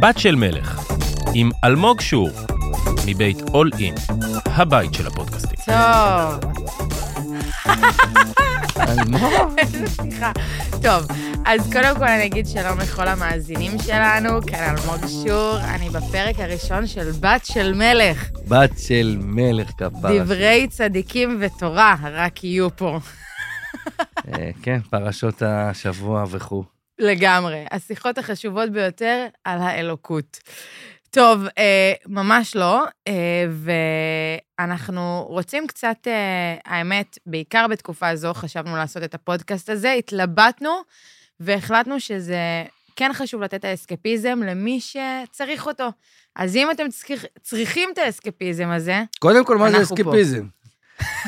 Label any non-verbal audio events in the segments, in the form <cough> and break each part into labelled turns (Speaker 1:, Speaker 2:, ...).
Speaker 1: בת של מלך, עם אלמוג שור, מבית אול אין, הבית של הפודקאסטים.
Speaker 2: טוב, <laughs>
Speaker 3: אלמוג?
Speaker 2: איזה שיחה. טוב, אז קודם כל אני אגיד שלום לכל המאזינים שלנו, כאן אלמוג שור, אני בפרק הראשון של בת של מלך,
Speaker 3: בת של מלך כפרה.
Speaker 2: דברי צדיקים ותורה, רק יהיו פה.
Speaker 3: אה, כן, פרשות השבוע וכו'.
Speaker 2: לגמרי. השיחות החשובות ביותר על האלוקות. טוב, אה, ממש לא, אה, ואנחנו רוצים קצת, אה, האמת, בעיקר בתקופה זו חשבנו לעשות את הפודקאסט הזה, התלבטנו והחלטנו שזה כן חשוב לתת את האסקפיזם למי שצריך אותו. אז אם אתם צריכ, צריכים את האסקפיזם הזה,
Speaker 3: קודם כל, מה זה
Speaker 2: אנחנו פה.
Speaker 3: אסקפיזם?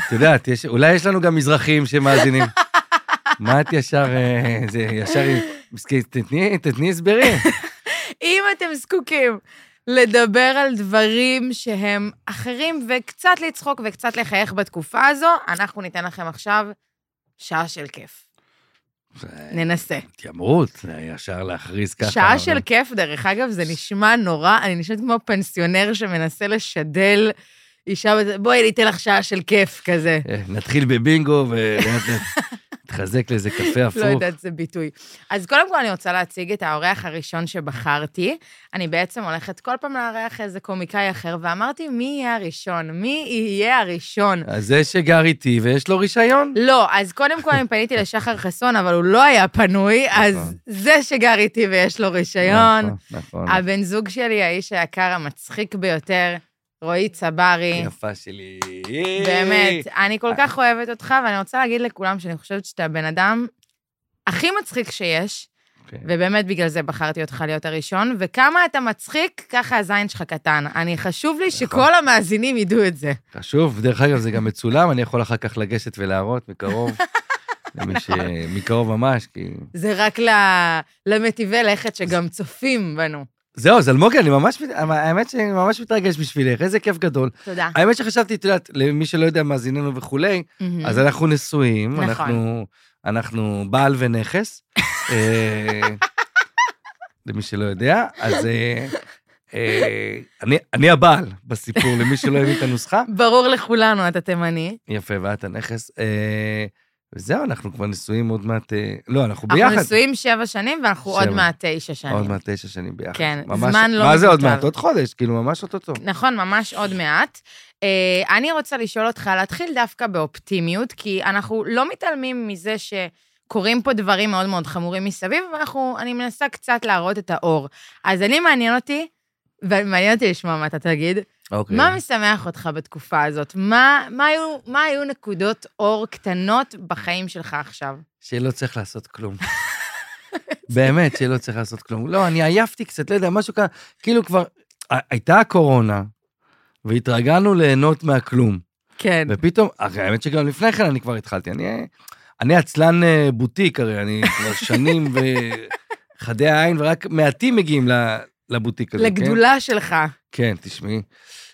Speaker 3: את יודעת, יש- אולי יש לנו גם מזרחים שמאזינים. מה את ישר, אה, זה ישר, מסכי- תתני- תתני הסברים.
Speaker 2: אם אתם זקוקים לדבר על דברים שהם אחרים, וקצת לצחוק וקצת לחייך בתקופה הזו, אנחנו ניתן לכם עכשיו שעה של כיף. ננסה.
Speaker 3: התיימרות, זה ישר להכריז ככה.
Speaker 2: שעה
Speaker 3: אבל-
Speaker 2: של כיף, דרך אגב, זה נשמע נורא, אני נשמעת כמו פנסיונר שמנסה לשדל אישה, בזה, בואי, אני אתן לך שעה של כיף כזה.
Speaker 3: אה, נתחיל בבינגו ולאט לאט נתחזק לאיזה קפה
Speaker 2: לא
Speaker 3: הפוך.
Speaker 2: יודעת, זה ביטוי. אז קודם כל אני רוצה להציג את האורח הראשון שבחרתי. אני בעצם הולכת כל פעם לארח איזה קומיקאי אחר, ואמרתי, מי יהיה הראשון? מי יהיה הראשון?
Speaker 3: אז זה שגר איתי ויש לו רישיון.
Speaker 2: לא, אז קודם כל אני פניתי לשחר חסון, אבל הוא לא היה פנוי, אז
Speaker 3: נכון.
Speaker 2: זה שגר איתי ויש לו רישיון.
Speaker 3: נכון, נכון.
Speaker 2: הבן זוג שלי, האיש היקר המצחיק ביותר, רועי צברי.
Speaker 3: יפה שלי.
Speaker 2: אה, באמת, אני כל כך אוהבת אותך, ואני רוצה להגיד לכולם שאני חושבת שאתה הבן אדם הכי מצחיק שיש,
Speaker 3: אוקיי.
Speaker 2: ובאמת בגלל זה בחרתי אותך להיות הראשון, וכמה אתה מצחיק, ככה הזין שלך קטן. אני חשוב
Speaker 3: נכון.
Speaker 2: לי שכל המאזינים ידעו את זה.
Speaker 3: חשוב, דרך אגב, זה גם מצולם, אני יכול אחר כך לגשת ולהראות מקרוב. למי ש... מקרוב ממש, כי...
Speaker 2: זה רק ל- למטיבי לכת שגם צופים בנו.
Speaker 3: זהו, אז אלמוגי, אני ממש... מת- האמת שאני ממש מתרגש בשבילך, איזה כיף גדול.
Speaker 2: תודה.
Speaker 3: האמת שחשבתי, את יודעת, למי שלא יודע, מאזיננו וכולי,
Speaker 2: מהמם.
Speaker 3: אז אנחנו נשואים,
Speaker 2: Mm. נכון.
Speaker 3: אנחנו, אנחנו בעל ונכס. אה, למי שלא יודע, אז אה, אה, אני, אני הבעל בסיפור, למי שלא הבין את הנוסחה.
Speaker 2: ברור לכולנו, אתה תימני.
Speaker 3: יפה, ואת הנכס. אה, וזהו, אנחנו כבר נשואים עוד מעט... אה, לא, אנחנו ביחד.
Speaker 2: אנחנו נשואים שבע שנים, ואנחנו עוד
Speaker 3: שבע.
Speaker 2: מעט תשע שנים.
Speaker 3: עוד מעט תשע שנים ביחד.
Speaker 2: כן,
Speaker 3: ממש-
Speaker 2: זמן לא
Speaker 3: מה זה עוד
Speaker 2: מבוטל.
Speaker 3: מעט? עוד חודש, כאילו, ממש אוטוטו.
Speaker 2: נכון, ממש עוד מעט. אה, אני רוצה לשאול אותך להתחיל דווקא באופטימיות, כי אנחנו לא מתעלמים מזה שקורים פה דברים מאוד מאוד חמורים מסביב, ואנחנו, אני מנסה קצת להראות את האור. אז אני מעניין אותי, ומעניין אותי לשמוע מה אתה תגיד,
Speaker 3: אוקיי.
Speaker 2: מה משמח אותך בתקופה הזאת? מה, מה, היו, מה היו נקודות אור קטנות בחיים שלך עכשיו?
Speaker 3: שלא צריך לעשות
Speaker 2: <laughs>
Speaker 3: כלום. באמת, שלא צריך לעשות כלום. לא, אני עייפתי קצת, לא יודע, משהו ככה, כאילו כבר... ה- הייתה הקורונה, והתרגלנו ליהנות מהכלום.
Speaker 2: כן.
Speaker 3: ופתאום, הרי האמת שגם לפני כן אני כבר התחלתי, אני, אני עצלן אה, בוטיק הרי, אני כבר
Speaker 2: <laughs>
Speaker 3: שנים וחדי העין, ורק מעטים מגיעים ל- לבוטיק הזה,
Speaker 2: לגדולה שלך.
Speaker 3: כן? כן, תשמעי.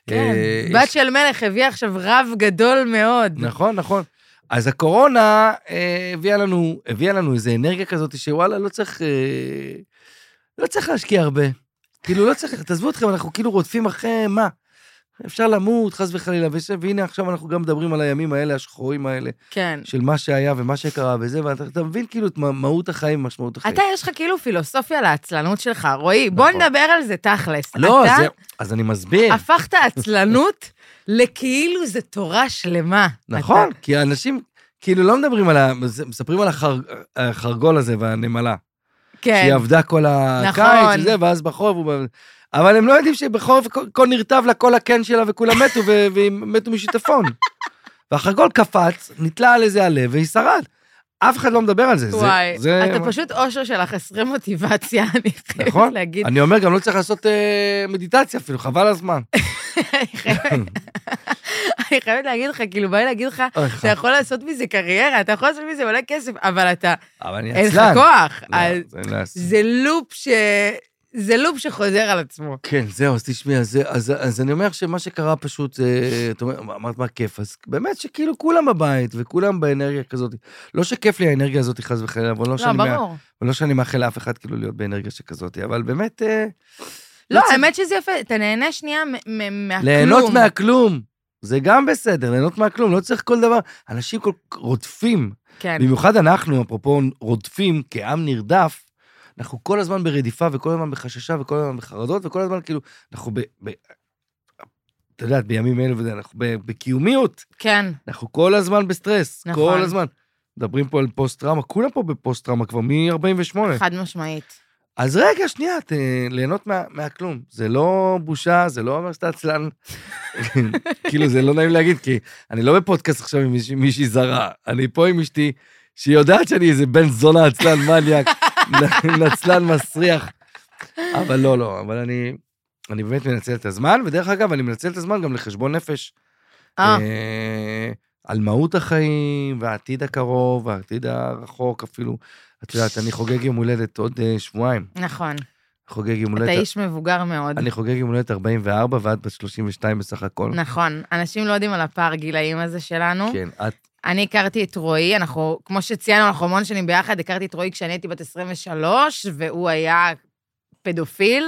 Speaker 2: כן.
Speaker 3: אה,
Speaker 2: בת
Speaker 3: יש-
Speaker 2: של מלך הביאה עכשיו רב גדול מאוד.
Speaker 3: נכון, נכון. אז הקורונה אה, הביאה לנו, הביאה לנו איזו אנרגיה כזאת שוואלה, לא צריך, אה, לא צריך להשקיע הרבה. כאילו, לא צריך, תעזבו אתכם, אנחנו כאילו רודפים אחרי מה? אפשר למות, חס וחלילה, וש- והנה עכשיו אנחנו גם מדברים על הימים האלה, השחורים האלה.
Speaker 2: כן.
Speaker 3: של מה שהיה ומה שקרה וזה, ואתה אתה מבין כאילו את מה- מהות החיים, משמעות החיים.
Speaker 2: אתה, יש לך כאילו פילוסופיה לעצלנות שלך, רועי. בוא
Speaker 3: נכון.
Speaker 2: נדבר על זה תכלס.
Speaker 3: לא,
Speaker 2: אתה
Speaker 3: זה... אז אני מסביר.
Speaker 2: הפכת עצלנות לכאילו זה תורה שלמה.
Speaker 3: נכון, כי האנשים כאילו לא מדברים על ה... מספרים על החר... החרגול הזה והנמלה.
Speaker 2: אתה- כן.
Speaker 3: שהיא עבדה כל
Speaker 2: נכון.
Speaker 3: הקיץ וזה, ואז בחורף הוא... אבל הם לא יודעים שבחורף כל- כל נרטב לה כל הקן שלה וכולם מתו, ו- והם מתו משיטפון. <laughs> והחרגול קפץ, נתלה על איזה עלה והיא שרד. אף אחד לא מדבר על זה. זה-
Speaker 2: וואי,
Speaker 3: זה...
Speaker 2: אתה פשוט אושר של החסרי מוטיבציה, אני חייבת
Speaker 3: נכון.
Speaker 2: <laughs> להגיד.
Speaker 3: אני אומר, גם לא צריך לעשות אה, מדיטציה אפילו, חבל על הזמן.
Speaker 2: <laughs> אני חייבת- אני חייבת להגיד לך, כאילו, בא לי להגיד לך,
Speaker 3: אוי,
Speaker 2: אתה יכול לעשות מזה קריירה, אתה יכול לעשות מזה מלא כסף, אבל אתה,
Speaker 3: אבל אני עצלן.
Speaker 2: אין לך כוח.
Speaker 3: לא,
Speaker 2: אז
Speaker 3: זה לא יעשה.
Speaker 2: זה לופ ש... זה לופ שחוזר על עצמו.
Speaker 3: כן, זהו, אז תשמעי, אז, זה- אז, אז אני אומר שמה שקרה פשוט, אה, זה- את אומרת, אמ, אמרת מה כיף, אז באמת שכאילו כולם בבית וכולם באנרגיה כזאת. לא שכיף לי האנרגיה הזאת, חס וחלילה, אבל לא,
Speaker 2: לא,
Speaker 3: שאני, מה,
Speaker 2: ברור.
Speaker 3: אבל לא שאני מאחל לאף אחד כאילו להיות באנרגיה שכזאת, אבל באמת, אה,
Speaker 2: לא,
Speaker 3: צריך-
Speaker 2: האמת שזה יפה, אתה נהנה שנייה מ- מ- מהכלום.
Speaker 3: ליהנות מהכלום. זה גם בסדר, ליהנות מהכלום, לא צריך כל דבר. אנשים כל כך רודפים,
Speaker 2: כן,
Speaker 3: במיוחד אנחנו, אפרופו רודפים, כעם נרדף, אנחנו כל הזמן ברדיפה וכל הזמן בחששה וכל הזמן בחרדות וכל הזמן כאילו, אנחנו ב... ב את יודעת, בימים אלו וזה, אנחנו ב- בקיומיות,
Speaker 2: כן,
Speaker 3: אנחנו כל הזמן בסטרס,
Speaker 2: נכון.
Speaker 3: כל הזמן. מדברים פה על פוסט-טראומה, כולם פה בפוסט-טראומה כבר מ-48.
Speaker 2: חד משמעית.
Speaker 3: אז רגע, שנייה, ת... ליהנות מה... מהכלום. זה לא בושה, זה לא אומר שאתה עצלן. <laughs> כאילו, זה לא נעים להגיד, כי אני לא בפודקאסט עכשיו עם מישהי, מישהי זרה, אני פה עם אשתי, שהיא יודעת שאני איזה בן זונה עצלן מניאק, נ- נצלן מסריח. אבל לא, לא, אבל אני, אני באמת מנצל את הזמן, ודרך אגב, אני מנצל את הזמן גם לחשבון נפש.
Speaker 2: אה,
Speaker 3: אה, על מהות החיים, והעתיד הקרוב, והעתיד הרחוק אפילו. את יודעת, אני חוגג יום הולדת עוד אה, שבועיים.
Speaker 2: נכון.
Speaker 3: חוגג יום הולדת.
Speaker 2: אתה איש מבוגר מאוד.
Speaker 3: אני חוגג יום הולדת 44 ואת בת 32 בסך הכל.
Speaker 2: נכון. אנשים לא יודעים על הפער גילאים הזה שלנו.
Speaker 3: כן, את,
Speaker 2: אני הכרתי את רועי, אנחנו, כמו שציינו, אנחנו המון שנים ביחד, הכרתי את רועי כשאני הייתי בת 23, והוא היה
Speaker 3: <laughs>
Speaker 2: פדופיל,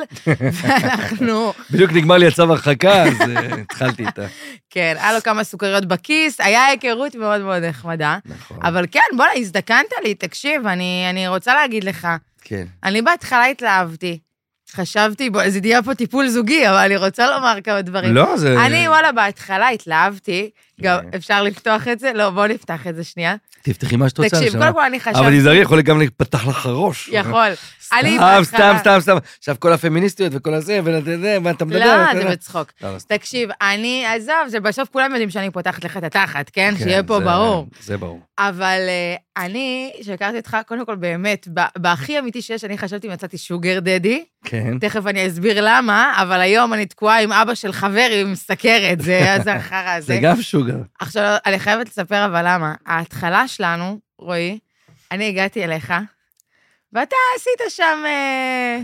Speaker 2: ואנחנו,
Speaker 3: בדיוק נגמר לי הצו הרחקה, אז אה,
Speaker 2: <laughs>
Speaker 3: התחלתי איתה.
Speaker 2: כן, היה לו כמה סוכריות בכיס, היה היכרות מאוד מאוד נחמדה.
Speaker 3: נכון.
Speaker 2: אבל כן, בוא'נה, הזדקנת לי, תקשיב, אני, אני רוצה להגיד לך,
Speaker 3: כן.
Speaker 2: אני בהתחלה התלהבתי. חשבתי, בוא, זה יהיה פה טיפול זוגי, אבל אני רוצה לומר כמה דברים.
Speaker 3: לא, זה...
Speaker 2: אני, וואלה, בהתחלה התלהבתי, גם
Speaker 3: כן.
Speaker 2: אפשר לפתוח את זה? לא, בואו נפתח את זה שנייה.
Speaker 3: תפתחי מה שאת רוצה.
Speaker 2: תקשיב,
Speaker 3: נשמה.
Speaker 2: קודם כל אני
Speaker 3: אבל
Speaker 2: חשבתי...
Speaker 3: תיזהרי, יכול גם להיפתח לך הראש.
Speaker 2: יכול. אני
Speaker 3: סתם, סתם,
Speaker 2: בהתחלה-
Speaker 3: סתם, סתם. עכשיו כל הפמיניסטיות וכל הזה, ואתה יודע, ואתה מדבר.
Speaker 2: לא,
Speaker 3: אתה
Speaker 2: זה
Speaker 3: יודע.
Speaker 2: בצחוק.
Speaker 3: לא, לא, סתם.
Speaker 2: תקשיב, אני, עזוב, זה בסוף כולם יודעים שאני פותחת לך את התחת, כן?
Speaker 3: כן,
Speaker 2: שיהיה פה
Speaker 3: זה-
Speaker 2: ברור.
Speaker 3: זה ברור.
Speaker 2: אבל אה, אני, שהכרתי אותך, קודם כל באמת, ב- בהכי אמיתי שיש, אני חשבתי מצאתי שוגר דדי,
Speaker 3: כן.
Speaker 2: תכף אני אסביר למה, אבל היום אני תקועה עם אבא של חבר עם סכרת, זה אז החרא
Speaker 3: זה
Speaker 2: הזה.
Speaker 3: גם שוגר.
Speaker 2: עכשיו, אני חייבת לספר אבל למה. ההתחלה שלנו, רועי, אני הגעתי אליך, ואתה עשית שם... אה,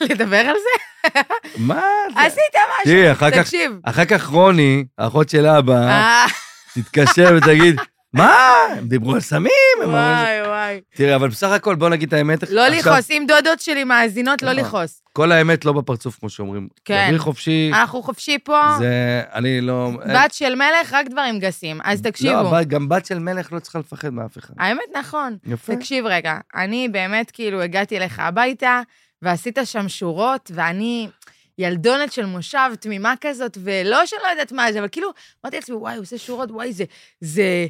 Speaker 2: לדבר על זה?
Speaker 3: מה זה?
Speaker 2: עשית משהו.
Speaker 3: כן. תראי, אחר כך-
Speaker 2: תקשיב.
Speaker 3: אחר כך רוני, האחות של אבא,
Speaker 2: אה,
Speaker 3: תתקשר ותגיד, מה? הם דיברו על סמים, הם אמרו... את זה."
Speaker 2: וואי, וואי.
Speaker 3: תראה, אבל בסך הכל, בוא נגיד את האמת.
Speaker 2: לא
Speaker 3: עכשיו,
Speaker 2: לכעוס, אם דודות שלי מאזינות, לא
Speaker 3: נכון.
Speaker 2: לכעוס.
Speaker 3: כל האמת לא בפרצוף, כמו שאומרים.
Speaker 2: כן.
Speaker 3: דברי חופשי,
Speaker 2: אנחנו חופשי פה,
Speaker 3: אה. זה... אני לא...
Speaker 2: בת של מלך, רק דברים גסים. אז
Speaker 3: לא,
Speaker 2: תקשיבו.
Speaker 3: אבל גם בת של מלך לא צריכה לפחד מאף אחד.
Speaker 2: האמת, נכון.
Speaker 3: יפה.
Speaker 2: תקשיב רגע, אני באמת כאילו הגעתי אליך הביתה, ועשית שם שורות, ואני ילדונת של מושב, תמימה כזאת, ולא שאני לא יודעת מה זה, אבל כאילו, אמרתי לעצמי, וואי, הוא עושה שורות, וואי, זה... זה...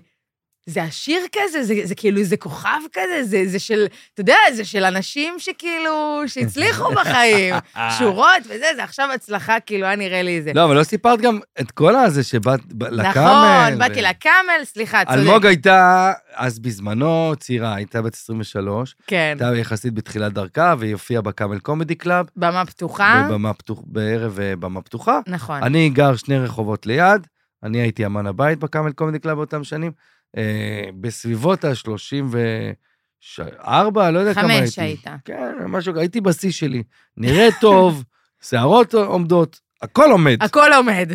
Speaker 2: זה עשיר כזה, זה, זה כאילו, זה כוכב כזה, זה, זה של, אתה יודע, זה של אנשים שכאילו,
Speaker 3: <laughs>
Speaker 2: שהצליחו בחיים, שורות וזה, זה עכשיו הצלחה, כאילו, היה נראה לי זה.
Speaker 3: לא, אבל לא סיפרת גם את כל הזה שבאת ב- לקאמל.
Speaker 2: נכון,
Speaker 3: ו-
Speaker 2: באתי לקאמל, סליחה, צודק.
Speaker 3: אלמוג הייתה, אז בזמנו, צעירה, הייתה בת 23,
Speaker 2: כן,
Speaker 3: הייתה יחסית בתחילת דרכה, והיא הופיעה בקאמל קומדי קלאב,
Speaker 2: במה פתוחה.
Speaker 3: בבמה פתוח- בערב אה, במה פתוחה.
Speaker 2: נכון.
Speaker 3: אני גר שני רחובות ליד, אני הייתי אמן הבית בקאמל קומדי קלאב באותם שנים. אה, בסביבות ה-34, לא יודע כמה הייתי.
Speaker 2: חמש היית.
Speaker 3: כן, משהו, הייתי בשיא שלי. נראה
Speaker 2: <laughs>
Speaker 3: טוב, שערות עומדות, הכל עומד.
Speaker 2: הכל עומד.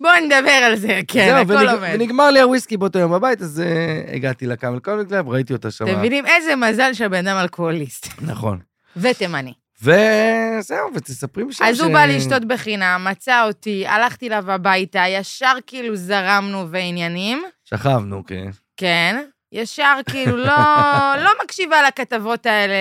Speaker 2: בואו נדבר על זה, אה, כן,
Speaker 3: זהו,
Speaker 2: הכל
Speaker 3: ונג-
Speaker 2: עומד.
Speaker 3: ונגמר לי הוויסקי באותו יום בבית, אז אה, הגעתי לקאמל קומדי קלאב, ראיתי אותה שם.
Speaker 2: אתם מבינים איזה מזל שהבן אדם אלכוהוליסט.
Speaker 3: נכון.
Speaker 2: ותימני.
Speaker 3: וזהו, ותספרי משם
Speaker 2: אז
Speaker 3: ש-
Speaker 2: הוא בא לשתות בחינם, מצא אותי, הלכתי אליו הביתה, ישר כאילו זרמנו ועניינים.
Speaker 3: שכבנו, כן.
Speaker 2: כן. ישר כאילו
Speaker 3: <laughs>
Speaker 2: לא, לא מקשיבה לכתבות האלה,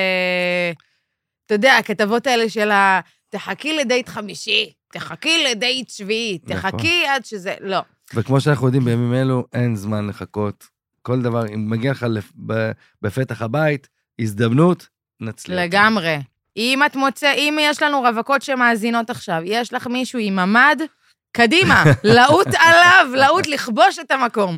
Speaker 2: אתה יודע, הכתבות האלה של ה... תחכי לדייט חמישי, תחכי לדייט שביעי,
Speaker 3: נכון.
Speaker 2: תחכי עד שזה... לא.
Speaker 3: וכמו שאנחנו יודעים, בימים אלו אין זמן לחכות. כל דבר, אם מגיע לך לפ- ב- בפתח הבית, הזדמנות, נצליח.
Speaker 2: לגמרי. אם את מוצא, אם יש לנו רווקות שמאזינות עכשיו, יש לך מישהו עם ממ"ד,
Speaker 3: <laughs>
Speaker 2: קדימה, לעוט עליו, לעוט לכבוש את המקום.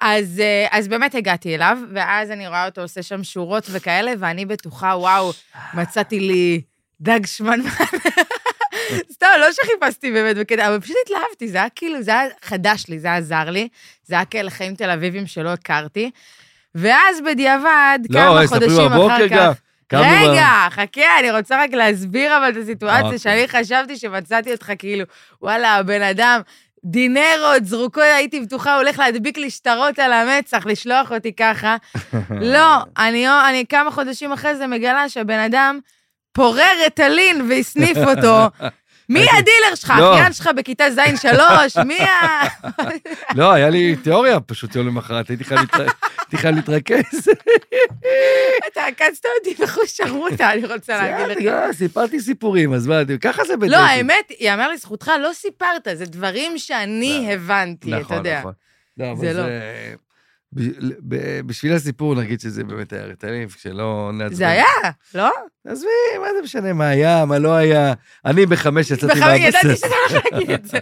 Speaker 2: אז, אה, אז באמת הגעתי אליו, ואז אני רואה אותו עושה שם שורות וכאלה, ואני בטוחה, וואו, מצאתי לי דג שמנמן. <laughs> סתם, לא שחיפשתי באמת בקטע, אבל פשוט התלהבתי, זה היה כאילו, זה היה חדש לי, זה היה זר לי, זה היה כאלה חיים תל אביבים שלא הכרתי. ואז בדיעבד,
Speaker 3: לא,
Speaker 2: כמה
Speaker 3: ספרי
Speaker 2: חודשים אחר
Speaker 3: בבוקר
Speaker 2: כך...
Speaker 3: גם. קמנו ב-
Speaker 2: רגע, חכה, אני רוצה רק להסביר אבל את הסיטואציה
Speaker 3: אוקיי.
Speaker 2: שאני חשבתי שמצאתי אותך כאילו, וואלה, הבן אדם, דינרות, זרוקות, הייתי בטוחה, הוא הולך להדביק לי שטרות על המצח, לשלוח
Speaker 3: <laughs>
Speaker 2: לא, אותי ככה. לא, אני, אני כמה חודשים אחרי זה מגלה שהבן אדם פורר ריטלין והסניף
Speaker 3: <laughs>
Speaker 2: אותו. מי הדילר שלך?
Speaker 3: לא.
Speaker 2: האחיין שלך בכיתה ז' שלוש?
Speaker 3: <laughs>
Speaker 2: מי ה...
Speaker 3: לא, היה לי תיאוריה פשוט יום למחרת, הייתי חייב להתר- הייתי חייב להתרכז.
Speaker 2: אתה עקצת אותי בחוש שרמוטה, <laughs> אני רוצה להגיד לך.
Speaker 3: לא, סיפרתי סיפורים, אז מה, ככה זה בדייטים.
Speaker 2: לא, האמת, ייאמר לזכותך, לא סיפרת, זה דברים שאני הבנתי, אתה
Speaker 3: נכון,
Speaker 2: יודע.
Speaker 3: נכון. לא, אבל
Speaker 2: זה
Speaker 3: זה
Speaker 2: לא.
Speaker 3: ב- ב- בשביל הסיפור נגיד שזה באמת היה ריטלין, כשלא נעצבן.
Speaker 2: זה היה, לא?
Speaker 3: עזבי, מה זה משנה מה היה, מה לא היה. אני בחמש יצאתי
Speaker 2: בכלל ידעתי
Speaker 3: מהבסס.
Speaker 2: שאתה הולך להגיד את
Speaker 3: <laughs>
Speaker 2: זה.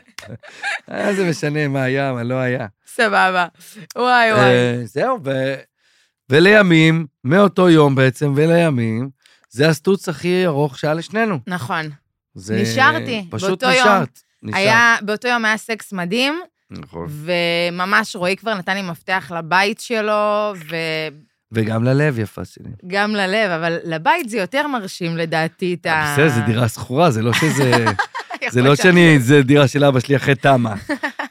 Speaker 3: מה אה, זה משנה מה היה, מה לא היה.
Speaker 2: סבבה. וואי אה, וואי.
Speaker 3: אה, זהו, ו- ולימים, מאותו יום בעצם, ולימים, זה הסטוץ הכי ארוך שהיה לשנינו.
Speaker 2: נכון.
Speaker 3: זה-
Speaker 2: נשארתי,
Speaker 3: פשוט
Speaker 2: באותו יום.
Speaker 3: נשארת. נשארת.
Speaker 2: היה, באותו יום היה סקס מדהים,
Speaker 3: נכון.
Speaker 2: וממש רועי כבר נתן לי מפתח לבית שלו,
Speaker 3: וגם ללב יפה שלי.
Speaker 2: וגם ללב, אבל לבית זה יותר מרשים לדעתי את ה...
Speaker 3: אה, בסדר, זו
Speaker 2: <laughs>
Speaker 3: דירה שכורה, זה לא שזה...
Speaker 2: יכול
Speaker 3: זה לא
Speaker 2: להיות
Speaker 3: שאני, זה דירה של אבא שלי אחרי
Speaker 2: <laughs>
Speaker 3: תמה.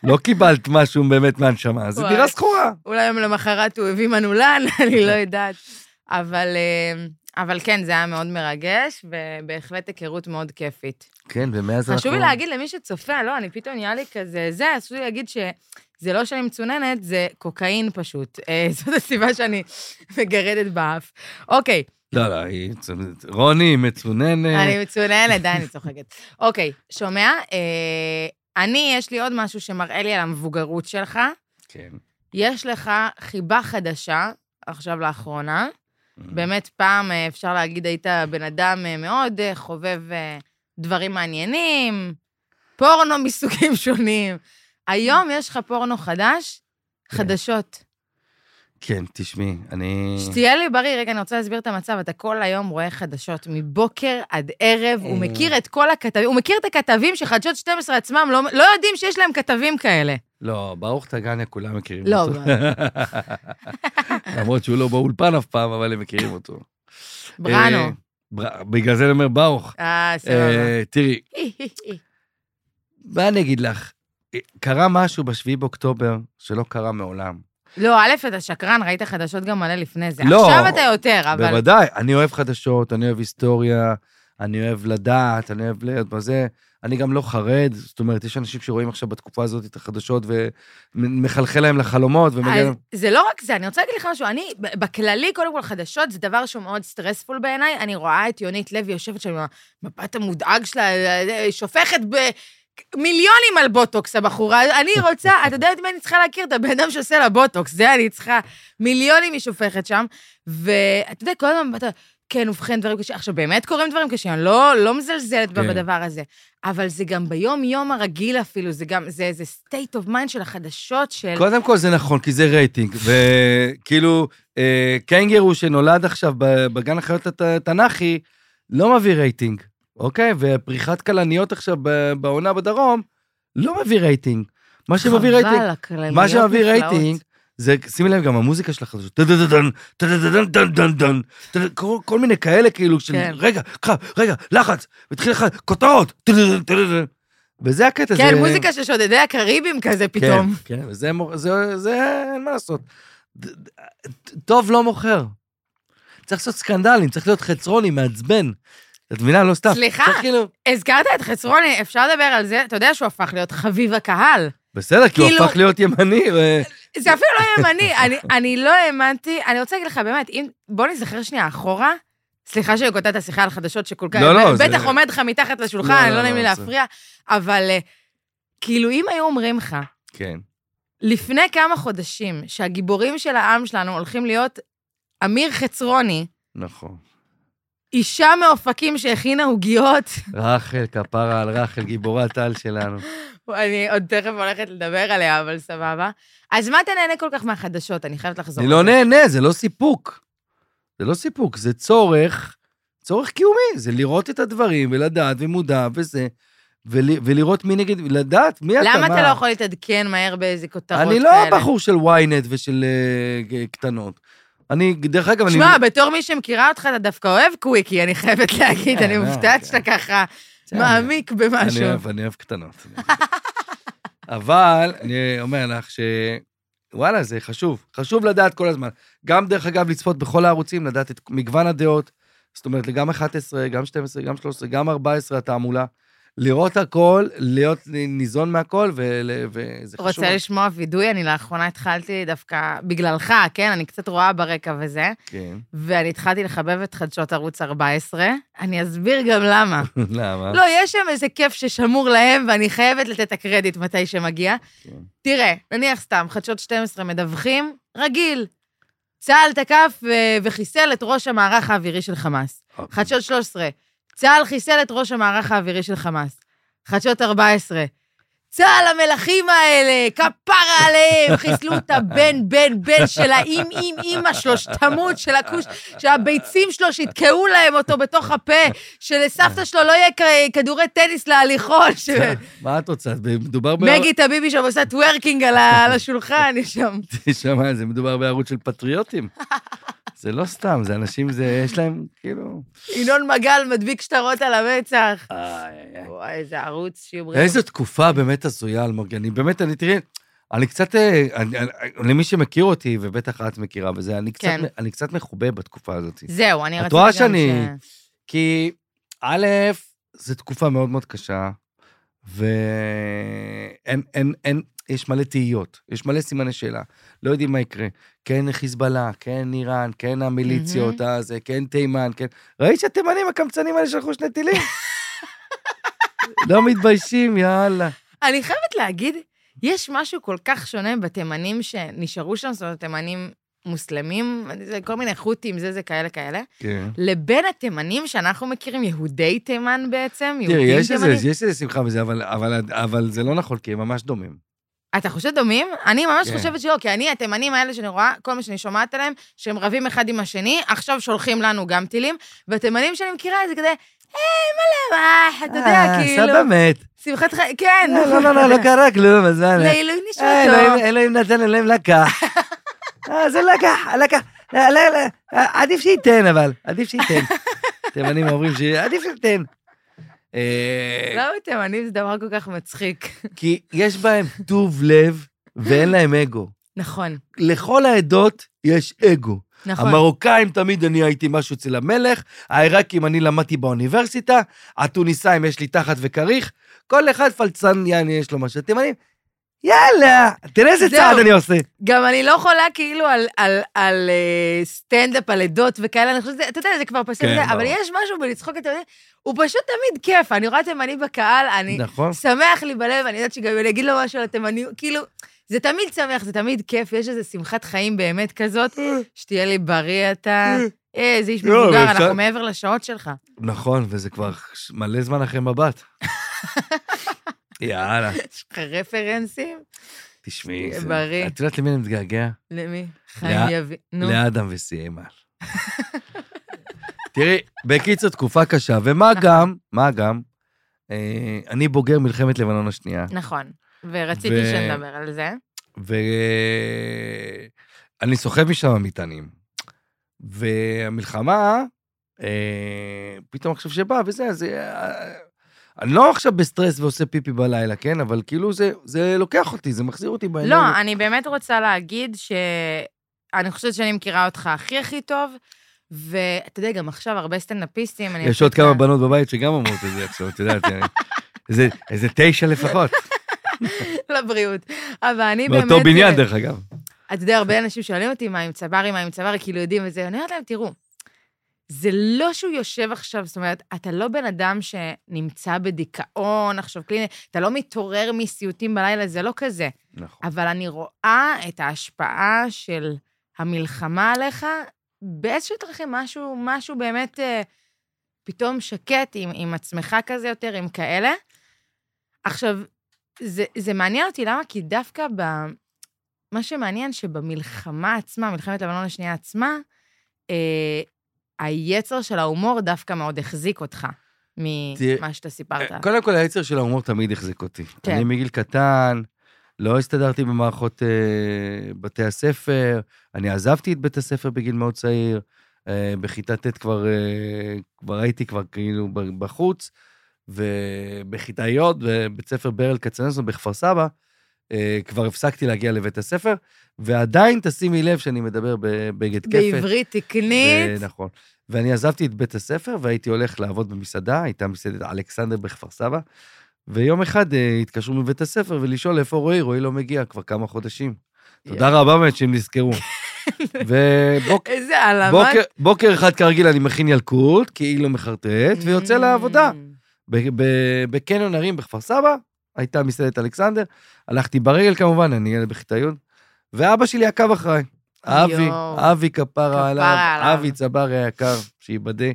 Speaker 3: לא קיבלת משהו באמת מהנשמה, זה
Speaker 2: וואי.
Speaker 3: דירה שכורה.
Speaker 2: אולי יום למחרת הוא הביא מנעולן, <laughs> אני לא יודעת. אבל, אה, אבל כן, זה היה מאוד מרגש, ובהחלט היכרות מאוד כיפית.
Speaker 3: כן, ומאז אנחנו...
Speaker 2: חשוב לי להגיד למי שצופה, לא, אני פתאום נהיה לי כזה, זה, חשוב לי להגיד שזה לא שאני מצוננת, זה קוקאין פשוט. אה, <laughs> זאת הסיבה שאני מגרדת באף. אוקיי,
Speaker 3: לא, לא, היא... מצוננת. רוני היא מצוננת.
Speaker 2: אני מצוננת, די, אני צוחקת. אוקיי, שומע? אה, אני, יש לי עוד משהו שמראה לי על המבוגרות שלך.
Speaker 3: כן.
Speaker 2: יש לך חיבה חדשה, עכשיו לאחרונה. באמת, פעם אה, אפשר להגיד, היית בן אדם אה, מאוד אה, חובב אה, דברים מעניינים, פורנו <laughs> מסוגים שונים. היום יש לך פורנו חדש, חדשות.
Speaker 3: כן, תשמעי, אני...
Speaker 2: שתהיה לי בריא, רגע, אני רוצה להסביר את המצב. אתה כל היום רואה חדשות, מבוקר עד ערב, הוא
Speaker 3: אה.
Speaker 2: מכיר את כל הכתבים, הוא מכיר את הכתבים שחדשות 12 עצמם לא, לא יודעים שיש להם כתבים כאלה.
Speaker 3: לא, ברוך טגניה כולם מכירים
Speaker 2: לא,
Speaker 3: אותו. <laughs> למרות שהוא לא באולפן אף פעם, אבל הם מכירים אותו. אה,
Speaker 2: בראנו.
Speaker 3: בר- בגלל זה אני אומר ברוך.
Speaker 2: אה, סבבה.
Speaker 3: אה, תראי, מה אני אגיד לך? אה, קרה משהו ב-7 באוקטובר שלא קרה מעולם.
Speaker 2: <laughs> לא, א', אתה שקרן, ראית חדשות גם מלא לפני זה.
Speaker 3: לא.
Speaker 2: עכשיו אתה יותר, אבל...
Speaker 3: בוודאי, אני אוהב חדשות, אני אוהב היסטוריה, אני אוהב לדעת, אני אוהב להיות בזה. אני גם לא חרד, זאת אומרת, יש אנשים שרואים עכשיו בתקופה הזאת את החדשות ומחלחל להם לחלומות ומגיע
Speaker 2: אז
Speaker 3: להם...
Speaker 2: זה לא רק זה, אני רוצה להגיד לך משהו. אני, ב- בכללי, קודם כל, חדשות זה דבר שהוא מאוד סטרספול בעיניי. אני רואה את יונית לוי יושבת שם עם המבט המודאג שלה, אה, שופכת ב- מיליונים על בוטוקס, הבחורה. אני רוצה, את יודעת מי אני צריכה להכיר? את הבן אדם שעושה לה בוטוקס, זה אני צריכה. מיליונים היא שופכת שם. ואתה יודע, כל הזמן, אתה, כן, ובכן, דברים קשים. עכשיו, באמת קורים דברים קשים, אני לא, לא מזלזלת כן.
Speaker 3: כן.
Speaker 2: בדבר הזה. אבל זה גם ביום-יום הרגיל אפילו, זה גם, זה איזה state of mind של החדשות, של...
Speaker 3: קודם כל זה נכון, כי זה רייטינג, וכאילו, אה, קנגרו שנולד עכשיו ב- בגן החיות הת- התנ"כי, לא מביא רייטינג, אוקיי? ופריחת כלניות עכשיו ב- בעונה בדרום, לא מביא רייטינג. מה שמביא רייטינג...
Speaker 2: חבל, הכלניות
Speaker 3: מה שמביא
Speaker 2: נפלאות.
Speaker 3: רייטינג, זה, שימי לב, גם המוזיקה של החדשות, טה-טה-טה-טן, טה-טה-טה-טן-טן-טן, טה-טה, כל- כל מיני כאלה כאילו, של
Speaker 2: כן.
Speaker 3: רגע, קרב, רגע, לחץ, מתחיל לך, כותרות, טה-טה-טה, טה-טה-טה. וזה הקטע,
Speaker 2: כן,
Speaker 3: זה-
Speaker 2: מוזיקה של שודדי הקריבים כזה
Speaker 3: כן,
Speaker 2: פתאום.
Speaker 3: כן, וזה מוכ- זה, זה, אין מה לעשות. ד- ד- טוב לא מוכר. צריך לעשות סקנדלים, צריך להיות חצרוני, מעצבן. את מבינה? לא סתם.
Speaker 2: סליחה.
Speaker 3: צריך כאילו-
Speaker 2: הזכרת את חצרוני, אפשר לדבר על זה? אתה יודע שהוא הפך להיות חביב הקהל.
Speaker 3: בסדר, כי הוא
Speaker 2: כאילו-
Speaker 3: הפך להיות ימני, ו-
Speaker 2: זה אפילו לא
Speaker 3: <laughs>
Speaker 2: ימני, אני, אני לא האמנתי. אני רוצה להגיד לך, באמת, אם... בוא נזכר שנייה אחורה. סליחה שאני קוטעת את השיחה על חדשות שכל כך...
Speaker 3: לא, לא,
Speaker 2: ב-
Speaker 3: זה-
Speaker 2: בטח עומד לך מתחת לשולחן,
Speaker 3: לא,
Speaker 2: לא
Speaker 3: לא,
Speaker 2: נעים לי
Speaker 3: לא, זה-
Speaker 2: להפריע, אבל אה, כאילו, אם היו אומרים לך,
Speaker 3: כן.
Speaker 2: לפני כמה חודשים, שהגיבורים של העם שלנו הולכים להיות אמיר חצרוני, <laughs>
Speaker 3: נכון.
Speaker 2: אישה מאופקים שהכינה עוגיות,
Speaker 3: רחל, כפרה על רחל, גיבורת על
Speaker 2: <laughs>
Speaker 3: שלנו.
Speaker 2: אני עוד תכף הולכת לדבר עליה, אבל סבבה. אז מה אתה נהנה כל כך מהחדשות? אני חייבת לחזור.
Speaker 3: אני
Speaker 2: לזה.
Speaker 3: לא נהנה, זה לא סיפוק. זה לא סיפוק, זה צורך, צורך קיומי, זה לראות את הדברים ולדעת ומודע וזה, ול, ולראות מי נגד, לדעת מי אתה,
Speaker 2: למה
Speaker 3: מה.
Speaker 2: אתה לא יכול להתעדכן מהר באיזה כותרות כאלה?
Speaker 3: אני לא הבחור של ynet ושל uh, קטנות. אני, דרך אגב, אני...
Speaker 2: שמע, בתור מי שמכירה אותך, אתה דווקא אוהב קוויקי, אני חייבת להגיד, אני
Speaker 3: אה,
Speaker 2: מופתעת
Speaker 3: כן.
Speaker 2: שאתה ככה
Speaker 3: בסדר.
Speaker 2: מעמיק במשהו.
Speaker 3: אני אוהב, אני אוהב קטנות. אבל אני אומר לך ש... וואלה, זה חשוב. חשוב לדעת כל הזמן. גם, דרך אגב, לצפות בכל הערוצים, לדעת את מגוון הדעות זאת אומרת, גם 11, גם 12, גם 13, גם 14 התעמולה. לראות הכל, להיות ניזון מהכל, ול- וזה חשוב.
Speaker 2: רוצה לשמוע וידוי, אני לאחרונה התחלתי דווקא בגללך, כן? אני קצת רואה ברקע וזה,
Speaker 3: כן, <laughs>
Speaker 2: ואני התחלתי לחבב את חדשות ערוץ 14. אני אסביר גם למה.
Speaker 3: למה?
Speaker 2: לא, יש שם איזה כיף ששמור להם, ואני חייבת לתת את הקרדיט מתי שמגיע.
Speaker 3: כן.
Speaker 2: תראה, נניח סתם, חדשות 12 מדווחים, רגיל. צה"ל תקף אה, וחיסל את ראש המערך האווירי של חמאס. חדשות 13, צה"ל חיסל את ראש המערך האווירי של חמאס. חדשות 14, צה"ל המלכים האלה, כפרה עליהם, חיסלו את הבן, בן, בן של האם, אם, אימא שלו, שתמות של הכוש, שהביצים שלו, שיתקעו להם אותו בתוך הפה, שלסבתא שלו לא יהיה כ- כדורי טניס להליכון, ש-
Speaker 3: <laughs> כן. מה את רוצה? מדובר ב...
Speaker 2: מגי טביבי שם עושה טוורקינג על ה- על השולחן, היא שם.
Speaker 3: <laughs> תשמע, זה מדובר בערוץ של <laughs> פטריוטים. זה לא סתם, זה אנשים, זה, יש להם, כאילו...
Speaker 2: ינון מגל מדביק שטרות על המצח.
Speaker 3: איי, איי, איי.
Speaker 2: וואי, איזה ערוץ שיהיו בריאים.
Speaker 3: איזו תקופה באמת הזויה, אלמוג. אני באמת, אני, תראי, אני קצת, אה, אני- אני- למי שמכיר אותי, ובטח את מכירה וזה, אני קצת,
Speaker 2: כן.
Speaker 3: אני קצת מחובה בתקופה הזאת.
Speaker 2: זהו, אני רציתי
Speaker 3: את
Speaker 2: גם ש...
Speaker 3: רואה שאני- כי א', זו תקופה מאוד מאוד קשה, ואין, אין, אין, יש מלא תהיות, יש מלא סימני שאלה. לא יודעים מה יקרה. כן חיזבאללה, כן איראן, כן המיליציות,
Speaker 2: מהמם.
Speaker 3: הזה, כן תימן, כן... ראית שהתימנים הקמצנים האלה שלחו שני
Speaker 2: <laughs>
Speaker 3: טילים? לא מתביישים, יאללה.
Speaker 2: אני חייבת להגיד, יש משהו כל כך שונה בתימנים שנשארו שם, זאת אומרת, תימנים מוסלמים, זה כל מיני חות'ים, זה זה כאלה כאלה,
Speaker 3: כן.
Speaker 2: לבין התימנים שאנחנו מכירים, יהודי תימן בעצם,
Speaker 3: תראי,
Speaker 2: יהודים
Speaker 3: יש איזה,
Speaker 2: תימנים.
Speaker 3: יש איזה שמחה בזה, אבל, אבל, אבל זה לא נכון, כי הם ממש דומים.
Speaker 2: אתה חושב דומים? אני ממש
Speaker 3: כן.
Speaker 2: חושבת שלא, כי אני, התימנים האלה שאני רואה, כל מה שאני שומעת עליהם, שהם רבים אחד עם השני, עכשיו שולחים לנו גם טילים, והתימנים שאני מכירה זה כזה, היי, מה למה, אתה יודע,
Speaker 3: אה,
Speaker 2: כאילו,
Speaker 3: סבא מת.
Speaker 2: שמחת חיים, כן.
Speaker 3: לא, לא, לא, לא, לא קרה כלום, אז מה?
Speaker 2: לעילוי
Speaker 3: אה,
Speaker 2: נשמתו.
Speaker 3: אלוהים- אלוהים נתן, אלוהים
Speaker 2: <laughs>
Speaker 3: לקח. אה, זה לקח, לקח. לא, לא, לא, אה, עדיף שייתן, אבל. עדיף שייתן. תימנים אומרים שעדיף שייתן. אה,
Speaker 2: למה תימנים זה דבר כל כך מצחיק? <laughs>
Speaker 3: כי יש בהם טוב לב ואין להם אגו.
Speaker 2: נכון,
Speaker 3: לכל העדות יש אגו.
Speaker 2: נכון.
Speaker 3: המרוקאים תמיד אני הייתי משהו אצל המלך, העיראקים אני למדתי באוניברסיטה, התוניסאים יש לי תחת וכריך, כל אחד פלצן יעני יש לו משהו. התימנים, יאללה, תראה איזה
Speaker 2: זהו.
Speaker 3: צעד אני עושה.
Speaker 2: גם אני לא חולה כאילו על, על, על אה, סטנדאפ, על עדות וכאלה, אני חושבת, שזה- אתה יודע, זה כבר פסק,
Speaker 3: כן,
Speaker 2: זה, אבל
Speaker 3: ברור.
Speaker 2: יש משהו בלצחוק, אתה יודע, הוא פשוט תמיד כיף, אני רואה תימני בקהל, אני
Speaker 3: נכון.
Speaker 2: שמח לי בלב, אני יודעת שגם אם אני אגיד לו משהו על התימני, כאילו, זה תמיד שמח, זה תמיד כיף, יש איזו שמחת חיים באמת
Speaker 3: <laughs>
Speaker 2: כזאת, שתהיה לי בריא אתה. אה, איזה איש
Speaker 3: לא, אבל
Speaker 2: מבוגר,
Speaker 3: אפשר-
Speaker 2: אנחנו מעבר לשעות שלך.
Speaker 3: נכון, וזה כבר ש- מלא זמן אחרי מבט. יאללה,
Speaker 2: יש לך רפרנסים?
Speaker 3: תשמעי.
Speaker 2: תהיה
Speaker 3: זה-
Speaker 2: בריא.
Speaker 3: את יודעת למי אני מתגעגע?
Speaker 2: למי? חיים יבין. נו.
Speaker 3: לאדם
Speaker 2: <laughs>
Speaker 3: וסיימן. תראי, בקיצור, תקופה קשה, ומה
Speaker 2: נכון.
Speaker 3: גם, מה גם, אה, אני בוגר מלחמת לבנון השנייה,
Speaker 2: נכון, ורציתי
Speaker 3: ו-
Speaker 2: שנדבר על זה.
Speaker 3: ואני סוחב משם מטענים. והמלחמה, אה, פתאום עכשיו שבאה וזה, אז... אה, אני לא עכשיו בסטרס ועושה פיפי בלילה, כן? אבל כאילו זה, זה לוקח אותי, זה מחזיר אותי בעיניים.
Speaker 2: לא, אני באמת רוצה להגיד שאני חושבת שאני מכירה אותך הכי הכי טוב, ואתה יודע, גם עכשיו הרבה סטנדאפיסטים, אני...
Speaker 3: יש עוד
Speaker 2: חושבת-
Speaker 3: כמה בנות בבית שגם אומרות את זה עכשיו, את יודעת,
Speaker 2: <laughs>
Speaker 3: אה, איזה- איזה תשע לפחות.
Speaker 2: לבריאות. אבל אני באמת...
Speaker 3: מאותו בניין, דרך אגב.
Speaker 2: אתה יודע, הרבה אנשים שואלים אותי מה עם צברי, מה עם צברי, כאילו יודעים וזה, אני אומרת להם, תראו, זה לא שהוא יושב עכשיו, זאת אומרת, אתה לא בן אדם שנמצא בדיכאון עכשיו קליני, אתה לא מתעורר מסיוטים בלילה, זה לא כזה.
Speaker 3: נכון.
Speaker 2: אבל אני רואה את ההשפעה של המלחמה עליך באיזשהו דרכים, משהו, משהו באמת אה, פתאום שקט עם, עם עצמך כזה יותר, עם כאלה. עכשיו, זה, זה מעניין אותי, למה? כי דווקא ב... מה שמעניין שבמלחמה עצמה, מלחמת לבנון השנייה עצמה, אה, היצר של ההומור דווקא מאוד החזיק אותך ממה שאתה סיפרת.
Speaker 3: קודם אה, כל, היצר של ההומור תמיד החזיק אותי.
Speaker 2: כן.
Speaker 3: אני מגיל קטן, לא הסתדרתי במערכות אה, בתי הספר, אני עזבתי את בית הספר בגיל מאוד צעיר, אה, בכיתה ט' כבר, אה, כבר הייתי כבר כאילו ב- בחוץ, ובכיתה י', בבית ספר ברל כצנלסון בכפר סבא, אה, כבר הפסקתי להגיע לבית הספר, ועדיין תשימי לב שאני מדבר בבגד כפת.
Speaker 2: בעברית תקנית.
Speaker 3: ו- נכון. ואני עזבתי את בית הספר והייתי הולך לעבוד במסעדה, הייתה מסעדת אלכסנדר בכפר סבא, ויום אחד אה, התקשרו מבית הספר ולשאול איפה רועי, רועי לא מגיע כבר כמה חודשים. תודה רבה באמת שהם נזכרו.
Speaker 2: <laughs>
Speaker 3: ובוקר
Speaker 2: איזה העלמת.
Speaker 3: בוקר, בוקר אחד כרגיל אני מכין ילקוט, כאילו מחרטט, ויוצא לעבודה.
Speaker 2: <laughs>
Speaker 3: ב- ב- בקניון הרים בכפר סבא, הייתה מסעדת אלכסנדר, הלכתי ברגל כמובן, אני ילד בכיתה י', ואבא שלי עקב אחריי. אבי,
Speaker 2: יואו.
Speaker 3: אבי כפרה
Speaker 2: כפרה
Speaker 3: עליו,
Speaker 2: עליו.
Speaker 3: אבי צברי היקר, שייבדק.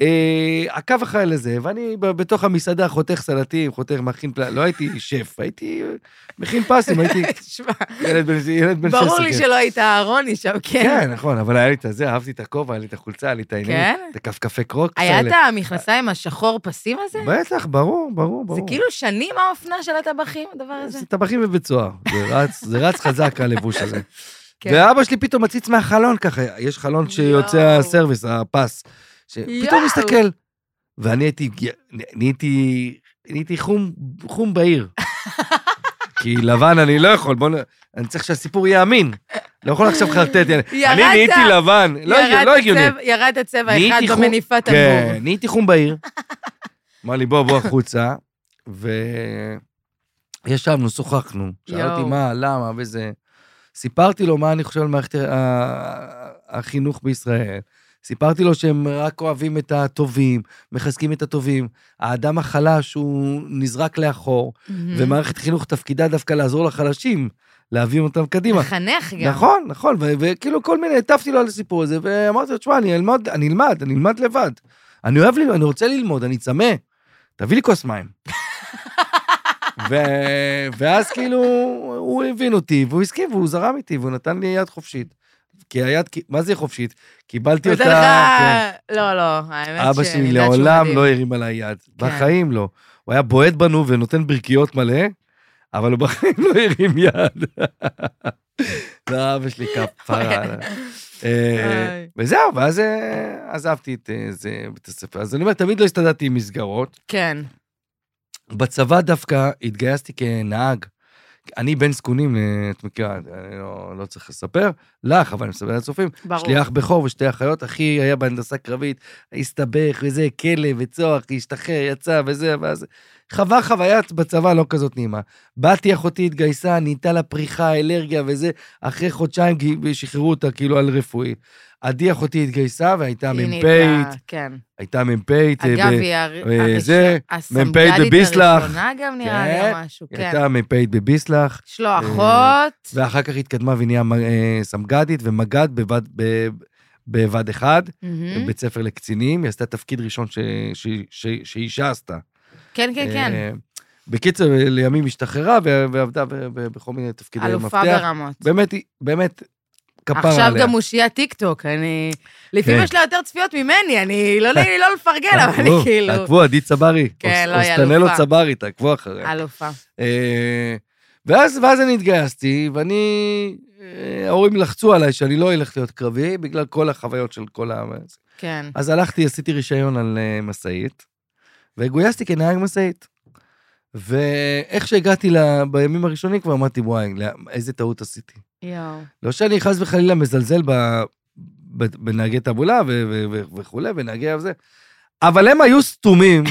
Speaker 3: אה, עקב אחריי לזה, ואני ב- בתוך המסעדה חותך סלטים, חותך, מכין פלאט, לא הייתי שף, הייתי אה, מכין
Speaker 2: <laughs>
Speaker 3: פסים, הייתי
Speaker 2: תשמע,
Speaker 3: ילד בן ילד בן 16.
Speaker 2: ברור לי
Speaker 3: כן.
Speaker 2: שלא היית אהרוני שם, כן.
Speaker 3: כן, נכון, אבל היה לי את הזה, אהבתי את הכובע, היה לי את החולצה, היה לי את העניינים,
Speaker 2: כן?
Speaker 3: את הכפכפי קרוקס
Speaker 2: היה
Speaker 3: האלה.
Speaker 2: את המכנסיים השחור פסים הזה?
Speaker 3: בטח, ברור, ברור, ברור.
Speaker 2: זה כאילו שנים האופנה של הטבחים, הדבר הזה?
Speaker 3: זה טבחים בבית סוהר, זה רץ, זה רץ חזק הלבוש הזה.
Speaker 2: <laughs> כן.
Speaker 3: ואבא שלי פתאום מציץ מהחלון ככה, יש חלון שיוצא
Speaker 2: יואו.
Speaker 3: הסרוויס, הפס, שפתאום
Speaker 2: יואו.
Speaker 3: מסתכל. ואני הייתי, נהייתי, נהייתי חום,
Speaker 2: <laughs>
Speaker 3: חום בעיר. כי לבן אני לא יכול, בוא נ... אני צריך שהסיפור יהיה אמין. לא יכול עכשיו חרטט, אני
Speaker 2: ירדת.
Speaker 3: אני נהייתי לבן, לא
Speaker 2: ירד
Speaker 3: הגיוני, לא הגיוני.
Speaker 2: הצבע- ירד הצבע אחד
Speaker 3: נהייתי חום-
Speaker 2: במניפת
Speaker 3: כן,
Speaker 2: הגור.
Speaker 3: נהייתי חום בעיר. <laughs> אמר לי, בוא, בוא החוצה, וישבנו, שוחחנו. שאל אותי
Speaker 2: יואו.
Speaker 3: מה, למה, וזה... סיפרתי לו מה אני חושב על מערכת ה- ה- החינוך בישראל. סיפרתי לו שהם רק אוהבים את הטובים, מחזקים את הטובים. האדם החלש הוא נזרק לאחור,
Speaker 2: Mm-hmm.
Speaker 3: ומערכת חינוך תפקידה דווקא לעזור לחלשים, להביא אותם קדימה.
Speaker 2: מחנך גם.
Speaker 3: נכון, נכון, ו- וכאילו כל מיני, הטפתי לו על הסיפור הזה, ואמרתי לו, תשמע, אני אלמד, אני אלמד, אני אלמד לבד. אני אוהב ללמוד, אני רוצה ללמוד, אני צמא. תביא לי
Speaker 2: <laughs>
Speaker 3: כוס מים. ו... ואז כאילו, הוא הבין אותי, והוא הסכים, והוא זרם איתי, והוא נתן לי יד חופשית. כי היד, מה זה חופשית? קיבלתי
Speaker 2: נותן
Speaker 3: אותה...
Speaker 2: לך...
Speaker 3: כן.
Speaker 2: לא, לא, האמת שאני
Speaker 3: אבא שלי
Speaker 2: יודעת שהוא
Speaker 3: לעולם
Speaker 2: מדהים.
Speaker 3: לא הרים עליי יד,
Speaker 2: כן.
Speaker 3: בחיים לא. הוא היה בועט בנו ונותן ברכיות מלא, אבל הוא בחיים לא הרים יד. <laughs> לא, אבא שלי
Speaker 2: <laughs>
Speaker 3: כפרה.
Speaker 2: כן,
Speaker 3: עליו. אה,
Speaker 2: אוי.
Speaker 3: וזהו, ואז אה, עזבתי את אה, זה, בית הספר. אז אני אומר, תמיד לא הסתדרתי עם מסגרות.
Speaker 2: כן.
Speaker 3: בצבא דווקא התגייסתי כנהג. אני בן זקונים, אה, את מכירה, אני לא, לא צריך לספר לך, אבל אני מספר לצופים.
Speaker 2: ברור.
Speaker 3: יש לי אח בכור ושתי אחיות, אחי היה בהנדסה קרבית, הסתבך וזה, כלא וצוח, השתחרר, יצא וזה, ואז... חווה חוויה בצבא לא כזאת נעימה. באתי, אחותי התגייסה, נהייתה לה פריחה, אלרגיה וזה, אחרי חודשיים גי- שחררו אותה כאילו על רפואי. עדי אחותי התגייסה והייתה
Speaker 2: היא נהייתה-
Speaker 3: מ"פית,
Speaker 2: כן.
Speaker 3: הייתה מ"פית. אה,
Speaker 2: אגב,
Speaker 3: ב-
Speaker 2: היא
Speaker 3: אה,
Speaker 2: הר-
Speaker 3: זה,
Speaker 2: הסמג"דית
Speaker 3: מ"פית בביסלח.
Speaker 2: הראשונה גם נראה לי
Speaker 3: כן.
Speaker 2: או משהו,
Speaker 3: היא
Speaker 2: כן.
Speaker 3: הייתה מ"פית בביסלח,
Speaker 2: יש לו אחות.
Speaker 3: ואחר כך התקדמה והיא נהייתה מ- אה, סמג"דית ומג"ד בבד, ב- בבה"ד 1.
Speaker 2: מהמם.
Speaker 3: אה, בית ספר לקצינים, היא עשתה תפקיד ראשון ש- ש- ש- שאישה עשתה.
Speaker 2: כן, כן, כן.
Speaker 3: אה, בקיצר, לימים השתחררה ו- ועבדה ב- ב- בכל מיני תפקידי מפתח.
Speaker 2: אלופה ברמות.
Speaker 3: באמת, היא- באמת, כפרה עליה.
Speaker 2: עכשיו גם אושייה טיקטוק, אני... לפעמים
Speaker 3: כן.
Speaker 2: יש לה יותר צפיות ממני, אני... לא נעים לי לא לפרגן, אבל אני
Speaker 3: תעקבו,
Speaker 2: כאילו...
Speaker 3: תעקבו, עדי צברי.
Speaker 2: כן,
Speaker 3: או-
Speaker 2: לא,
Speaker 3: או
Speaker 2: היא
Speaker 3: סטנלו
Speaker 2: אלופה.
Speaker 3: צברי, תעקבו אחריה.
Speaker 2: אלופה.
Speaker 3: אה, ואז, ואז אני התגייסתי, ואני... אה, ההורים לחצו עליי שאני לא אלך להיות קרבי, בגלל כל החוויות של כל ה...
Speaker 2: כן.
Speaker 3: אז הלכתי, עשיתי רישיון על אה, משאית, וגויסתי כנהג משאית. ואיך שהגעתי ל... בימים הראשונים כבר אמרתי, וואי, לא- איזה טעות עשיתי.
Speaker 2: יואו.
Speaker 3: לא שאני חס וחלילה מזלזל ב... ב... בנהגי תעבולה ו... ו... ו... וכולי, בנהגי זה, אבל הם
Speaker 2: <laughs>
Speaker 3: היו סתומים.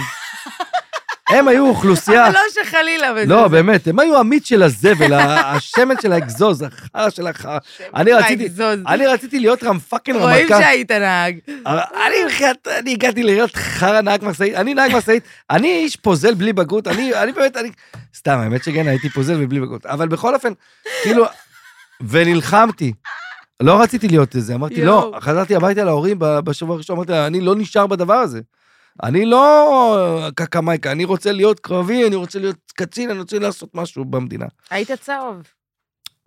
Speaker 3: הם היו אוכלוסייה...
Speaker 2: אבל לא שחלילה וזה.
Speaker 3: לא, באמת, הם היו המיץ של הזבל, ה- השמן של האגזוז, החרא של החרא. אני לא, רציתי-
Speaker 2: האגזוז.
Speaker 3: אני רציתי להיות רם פאקינג רמטכ"ל.
Speaker 2: רואים שהיית נהג.
Speaker 3: אבל אני מבחינת, אני הגעתי להיות חרא נהג משאית, אני נהג משאית, אני איש פוזל בלי בגרות, אני, אני באמת, אני... סתם, האמת שכן, הייתי פוזל ובלי בגרות, אבל בכל אופן, כאילו, ונלחמתי. לא רציתי להיות איזה, אמרתי, לא,
Speaker 2: יואו.
Speaker 3: חזרתי הביתה להורים ב- בשבוע הראשון, אמרתי, לה, אני לא נשאר בדבר הזה. אני לא קקמייקה, אני רוצה להיות קרבי, אני רוצה להיות קצין, אני רוצה לעשות משהו במדינה.
Speaker 2: היית צהוב.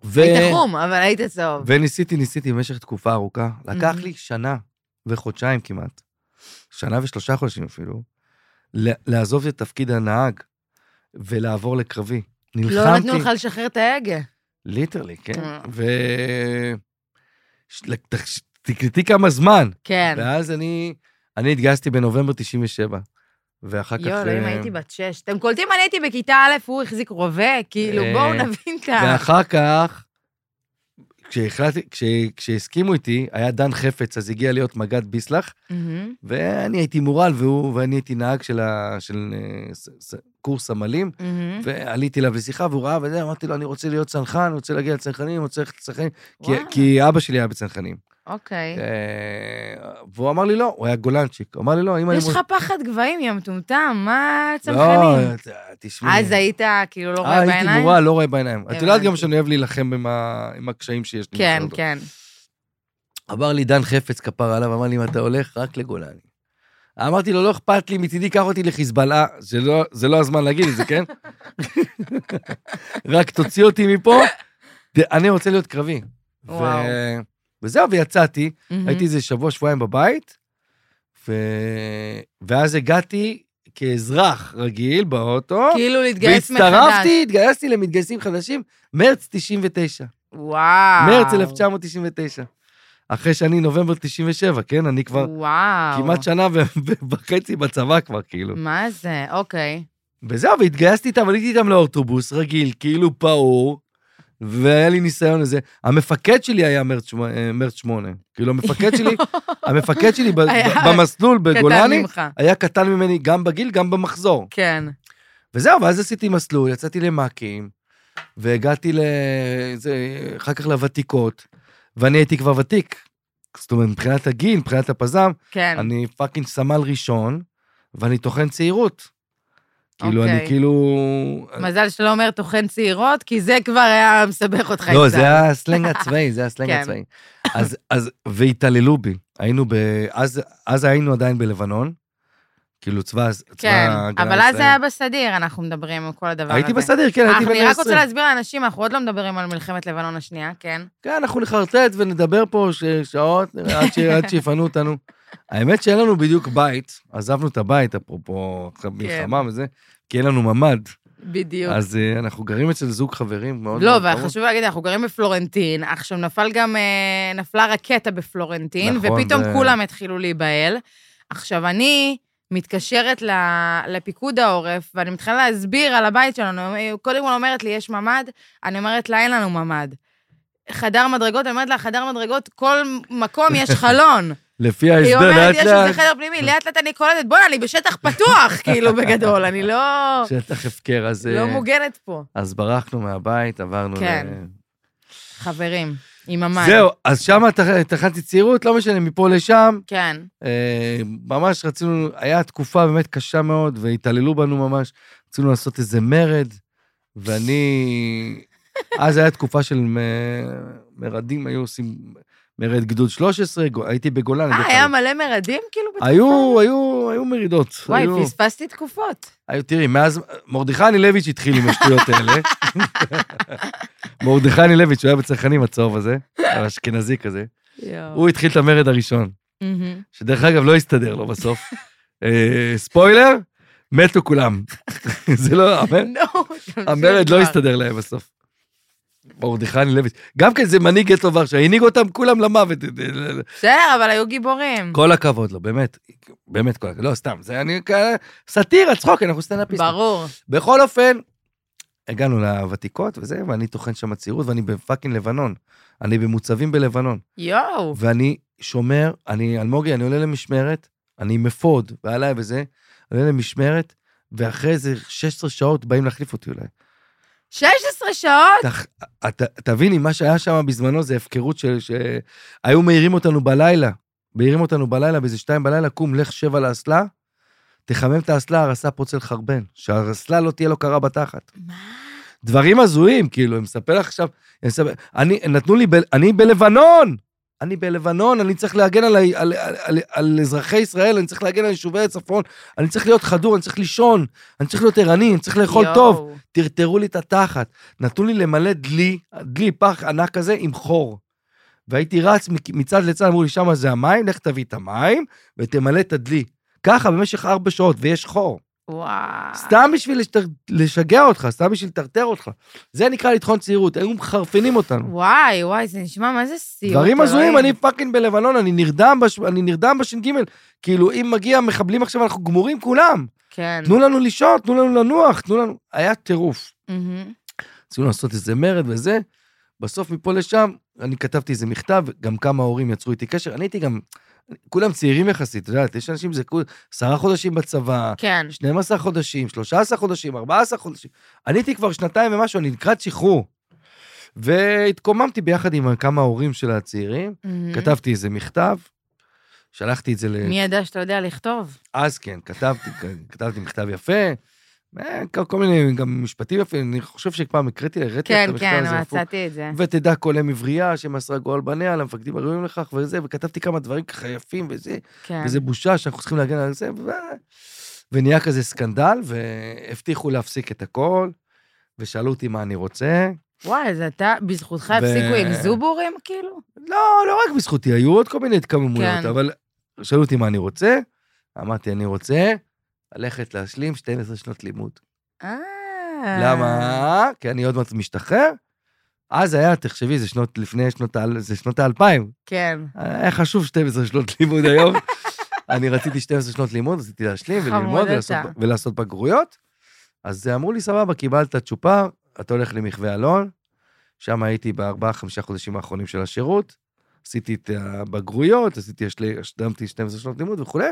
Speaker 3: ו-
Speaker 2: היית חום, אבל היית צהוב.
Speaker 3: וניסיתי, ניסיתי במשך תקופה ארוכה. לקח
Speaker 2: מהמם.
Speaker 3: לי שנה וחודשיים כמעט, שנה ושלושה חודשים אפילו, ל- לעזוב את תפקיד הנהג ולעבור לקרבי. נלחמתי.
Speaker 2: לא נתנו לך לשחרר את ההגה.
Speaker 3: ליטרלי, כן.
Speaker 2: אה.
Speaker 3: ו... ש- תח- תקלטי כמה זמן.
Speaker 2: כן.
Speaker 3: ואז אני, אני התגייסתי בנובמבר 97, ואחר כך...
Speaker 2: יואו, אלוהים,
Speaker 3: אה,
Speaker 2: הייתי בת שש. אתם קולטים, אני הייתי בכיתה א', הוא החזיק רובה, כאילו,
Speaker 3: אה,
Speaker 2: בואו נבין את ה...
Speaker 3: ואחר כך, כשהחלטתי, כש, כשהסכימו איתי, היה דן חפץ, אז הגיע להיות מג"ד ביסלח,
Speaker 2: מהמם.
Speaker 3: ואני הייתי מורל, והוא, ואני הייתי נהג של, ה, של אה, ס, ס, קורס סמלים,
Speaker 2: מהמם.
Speaker 3: ועליתי אליו לשיחה, והוא ראה וזה, אמרתי לו, אני רוצה להיות צנחן, אני רוצה להגיע לצנחנים, אני רוצה ללכת לצנחנים, כי,
Speaker 2: וואו,
Speaker 3: כי אבא שלי היה בצנחנים. כן.
Speaker 2: אוקיי.
Speaker 3: אה, והוא אמר לי לא, הוא היה גולנצ'יק. הוא אמר לי לא, אם אני...
Speaker 2: יש לך
Speaker 3: מוצ-
Speaker 2: פחד גבהים, יא מטומטם, מה
Speaker 3: לא,
Speaker 2: צנחנים?
Speaker 3: תשמעי.
Speaker 2: אז היית כאילו לא
Speaker 3: אה,
Speaker 2: רואה
Speaker 3: הייתי
Speaker 2: בעיניים?
Speaker 3: מורה, לא רואה בעיניים. את יודעת
Speaker 2: הבנתי.
Speaker 3: גם שאני אוהב להילחם עם ה- עם הקשיים שיש לי.
Speaker 2: כן,
Speaker 3: בסדר.
Speaker 2: כן.
Speaker 3: אמר לי דן חפץ כפר עליו, אמר לי, אם אתה הולך, רק לגולני. אמרתי לו, לא אכפת לי, מצידי קח אותי לחיזבאללה. זה לא, זה לא הזמן להגיד את זה, כן? רק תוציא אותי מפה, ת- אני רוצה להיות קרבי. ו-
Speaker 2: וואו. Mm-hmm.
Speaker 3: וזהו, ויצאתי,
Speaker 2: מהמם.
Speaker 3: הייתי איזה שבוע, שבועיים בבית, ו... ואז הגעתי כאזרח רגיל באוטו,
Speaker 2: כאילו להתגייס מחדש.
Speaker 3: והצטרפתי, התגייסתי למתגייסים חדשים, מרץ 99.
Speaker 2: וואו.
Speaker 3: מרץ 1999. אחרי שאני נובמבר 97, כן? אני כבר
Speaker 2: וואו.
Speaker 3: כמעט שנה ו- וחצי בצבא כבר, כאילו.
Speaker 2: מה זה? אוקיי.
Speaker 3: וזהו, והתגייסתי איתם, עליתי איתם לאוטובוס רגיל, כאילו פעור, והיה לי ניסיון לזה. המפקד שלי היה מרץ שמונה, אה, מרץ שמונה. כאילו, המפקד
Speaker 2: <laughs>
Speaker 3: שלי, המפקד שלי ב-
Speaker 2: היה
Speaker 3: ב- במסלול
Speaker 2: קטן
Speaker 3: בגולני,
Speaker 2: ממך.
Speaker 3: היה קטן ממני גם בגיל, גם במחזור.
Speaker 2: כן.
Speaker 3: וזהו, ואז עשיתי מסלול, יצאתי למ"כים, והגעתי ל... זה, אחר כך לוותיקות, ואני הייתי כבר ותיק. זאת אומרת, מבחינת הגיל, מבחינת הפז"ם,
Speaker 2: כן.
Speaker 3: אני פאקינג סמל ראשון, ואני טוחן צעירות. כאילו,
Speaker 2: אוקיי.
Speaker 3: אני כאילו...
Speaker 2: מזל שאתה לא אומר טוחן צעירות, כי זה כבר היה מסבך אותך
Speaker 3: לא,
Speaker 2: עם
Speaker 3: זה היה הסלנג הצבאי, זה היה הסלנג
Speaker 2: כן.
Speaker 3: הצבאי. אז, אז, והתעללו בי. היינו ב... אז, אז היינו עדיין בלבנון, כאילו צבא... צבא
Speaker 2: כן,
Speaker 3: ההגנה
Speaker 2: אבל אז
Speaker 3: לישראל.
Speaker 2: זה היה בסדיר, אנחנו מדברים על כל הדבר הזה.
Speaker 3: הייתי בסדיר, כן, הייתי
Speaker 2: אך,
Speaker 3: בן
Speaker 2: אני רק רוצה
Speaker 3: 20.
Speaker 2: להסביר לאנשים, אנחנו עוד לא מדברים על מלחמת לבנון השנייה, כן?
Speaker 3: כן, אנחנו נחרטט ונדבר פה ש- שעות עד, ש... עד שיפנו אותנו. האמת שאין לנו בדיוק בית, עזבנו את הבית, אפרופו עכשיו מלחמה וזה, כי אין לנו ממ"ד,
Speaker 2: כן. בדיוק.
Speaker 3: אז אה, אנחנו גרים אצל זוג חברים מאוד
Speaker 2: לא,
Speaker 3: מאוד קרוב.
Speaker 2: וחשוב להגיד, אנחנו גרים בפלורנטין, עכשיו נפל גם, אה, נפלה רקטה בפלורנטין,
Speaker 3: נכון,
Speaker 2: ופתאום
Speaker 3: זה-
Speaker 2: כולם התחילו להיבהל. עכשיו, אני מתקשרת ל- לפיקוד העורף, ואני מתחילה להסביר על הבית שלנו. היא קודם כל אומרת לי, יש ממ"ד? אני אומרת לה, אין לנו ממ"ד. חדר מדרגות, אני אומרת לה, חדר מדרגות, כל מקום
Speaker 3: <laughs>
Speaker 2: יש חלון.
Speaker 3: לפי
Speaker 2: היא
Speaker 3: ההסדר,
Speaker 2: אומרת,
Speaker 3: לאט
Speaker 2: יש איזה
Speaker 3: לאט,
Speaker 2: חדר פנימי, לאט לאט אני קולטת, בוא'נה, אני בשטח
Speaker 3: <laughs>
Speaker 2: פתוח, כאילו, בגדול, אני לא...
Speaker 3: שטח הפקר, אז,
Speaker 2: לא
Speaker 3: אה,
Speaker 2: מוגנת פה.
Speaker 3: אז ברחנו מהבית, עברנו
Speaker 2: כן.
Speaker 3: ל...
Speaker 2: חברים, עם ממ"ד.
Speaker 3: זהו, אז שם טחנתי צעירות, לא משנה, מפה לשם.
Speaker 2: כן.
Speaker 3: אה, ממש רצינו, היה תקופה באמת קשה מאוד, והתעללו בנו ממש. רצינו לעשות איזה מרד, ואני... אז הייתה תקופה של מ... מרדים, היו עושים מרד גדוד 13, גו- הייתי בגולן. דרך
Speaker 2: אה, היה
Speaker 3: אגב.
Speaker 2: מלא מרדים כאילו בתקופה?
Speaker 3: היו, היו, היו מרידות.
Speaker 2: וואי,
Speaker 3: היו,
Speaker 2: פספסתי תקופות.
Speaker 3: היו, תראי, מאז, מרדכי אנילביץ' התחיל עם השטויות האלה. מרדכי אנילביץ', הוא היה בצרכנים הצהוב הזה, האשכנזי כזה. הוא התחיל את המרד הראשון.
Speaker 2: מהמם.
Speaker 3: שדרך אגב לא הסתדר
Speaker 2: <laughs>
Speaker 3: לו בסוף. אה, ספוילר, מתו כולם. <laughs> זה לא,
Speaker 2: <laughs>
Speaker 3: המר-
Speaker 2: נו, תמשיך
Speaker 3: המרד
Speaker 2: כבר.
Speaker 3: לא הסתדר להם בסוף. מרדכי אנילביץ', גם כן זה מנהיג את לוורשה, הנהיג אותם כולם למוות.
Speaker 2: בסדר, אבל היו גיבורים.
Speaker 3: כל הכבוד לו, באמת, באמת כל הכבוד, לא סתם, זה אני כאלה, סאטירה, צחוק, אנחנו סטנדאפיסטים.
Speaker 2: ברור.
Speaker 3: בכל אופן, הגענו לוותיקות וזה, ואני טוחן שם צעירות, ואני בפאקינג לבנון. אני במוצבים בלבנון.
Speaker 2: יואו.
Speaker 3: ואני שומר, אני, אלמוגי, אני עולה למשמרת, אני עם אפוד, ועליי וזה, עולה למשמרת, ואחרי איזה 16 שעות באים להחליף אותי אולי.
Speaker 2: 16 שעות?
Speaker 3: תח, ת, תביני, מה שהיה שם בזמנו זה הפקרות של... ש... היו מעירים אותנו בלילה, מעירים אותנו בלילה, באיזה שתיים בלילה, קום, לך שב על האסלה, תחמם את האסלה, הרסה פוצל חרבן, שהאסלה לא תהיה לו קרה בתחת.
Speaker 2: מה?
Speaker 3: דברים הזויים, כאילו, אני מספר לך עכשיו, אני מספר, אני, נתנו לי, ב, אני בלבנון! אני בלבנון, אני צריך להגן על, ה- על, על, על, על אזרחי ישראל, אני צריך להגן על יישובי הצפון, אני צריך להיות חדור, אני צריך לישון, אני צריך להיות ערני, אני צריך לאכול
Speaker 2: יואו.
Speaker 3: טוב. טרטרו לי את התחת, נתנו לי למלא דלי, דלי פח ענק כזה עם חור. והייתי רץ מק- מצד לצד, אמרו לי, שמה זה המים, לך תביא את המים ותמלא את הדלי. ככה במשך ארבע שעות, ויש חור.
Speaker 2: וואי.
Speaker 3: סתם בשביל לשת- לשגע אותך, סתם בשביל לטרטר אותך. זה נקרא לטחון צעירות, היו מחרפנים אותנו.
Speaker 2: וואי, וואי, זה נשמע מה זה סיוט.
Speaker 3: דברים הזויים,
Speaker 2: אלוהים.
Speaker 3: אני פאקינג בלבנון, אני נרדם, בש... אני נרדם בש"ג. כאילו, אם מגיע מחבלים עכשיו, אנחנו גמורים כולם.
Speaker 2: כן.
Speaker 3: תנו לנו לישון, תנו לנו לנוח, תנו לנו... היה טירוף.
Speaker 2: מהמם.
Speaker 3: רצינו לעשות איזה מרד וזה. בסוף מפה לשם, אני כתבתי איזה מכתב, גם כמה הורים יצרו איתי קשר. אני הייתי גם... כולם צעירים יחסית, את יודעת, יש אנשים, זה כולה עשרה חודשים בצבא,
Speaker 2: כן.
Speaker 3: 12 חודשים, 13 חודשים, 14 חודשים. אני הייתי כבר שנתיים ומשהו, אני לקראת שחרור. והתקוממתי ביחד עם כמה הורים של הצעירים,
Speaker 2: מהמם.
Speaker 3: כתבתי איזה מכתב, שלחתי את זה ל...
Speaker 2: Mm-hmm. מי ידע שאתה יודע לכתוב?
Speaker 3: אז כן, כתבתי, כתבתי מכתב יפה, אה, כל- כל מיני גם משפטים יפים, אני חושב שפעם הקראתי, הראיתי לך
Speaker 2: כן,
Speaker 3: את המכתב
Speaker 2: כן,
Speaker 3: הזה. הפוך.
Speaker 2: מצאתי את זה.
Speaker 3: ותדע כל אם עברייה שמסרה גורל בניה למפקדים הראויים לכך וזה, וכתבתי כמה דברים ככה יפים וזה,
Speaker 2: כן.
Speaker 3: וזה בושה שאנחנו צריכים להגן על זה, ו... ונהיה כזה סקנדל, והבטיחו להפסיק את הכל, ושאלו אותי מה אני רוצה.
Speaker 2: וואי, אז אתה, בזכותך הפסיקו עם זובורים, כאילו?
Speaker 3: לא, לא רק בזכותי, היו עוד כל מיני התקוממויות,
Speaker 2: כן.
Speaker 3: כן. אבל שאלו אותי מה אני רוצה, אמרתי, אני רוצה ללכת להשלים 12 שנות לימוד.
Speaker 2: אה.
Speaker 3: למה? כי אני עוד מעט משתחרר. אז היה, תחשבי, זה שנות, לפני שנות, האל- זה שנות האלפיים.
Speaker 2: כן.
Speaker 3: היה חשוב 12 שנות לימוד
Speaker 2: <laughs>
Speaker 3: היום. אני רציתי 12 שנות לימוד, רציתי להשלים
Speaker 2: חמוד
Speaker 3: וללמוד
Speaker 2: אתה.
Speaker 3: ולעשות, ולעשות בגרויות. אז אמרו לי, סבבה, קיבלת צ'ופר, אתה הולך למחווה אלון, שם הייתי בארבעה, חמישה חודשים האחרונים של השירות, עשיתי את הבגרויות, עשיתי, השל- השלמתי 12 שנות לימוד וכולי,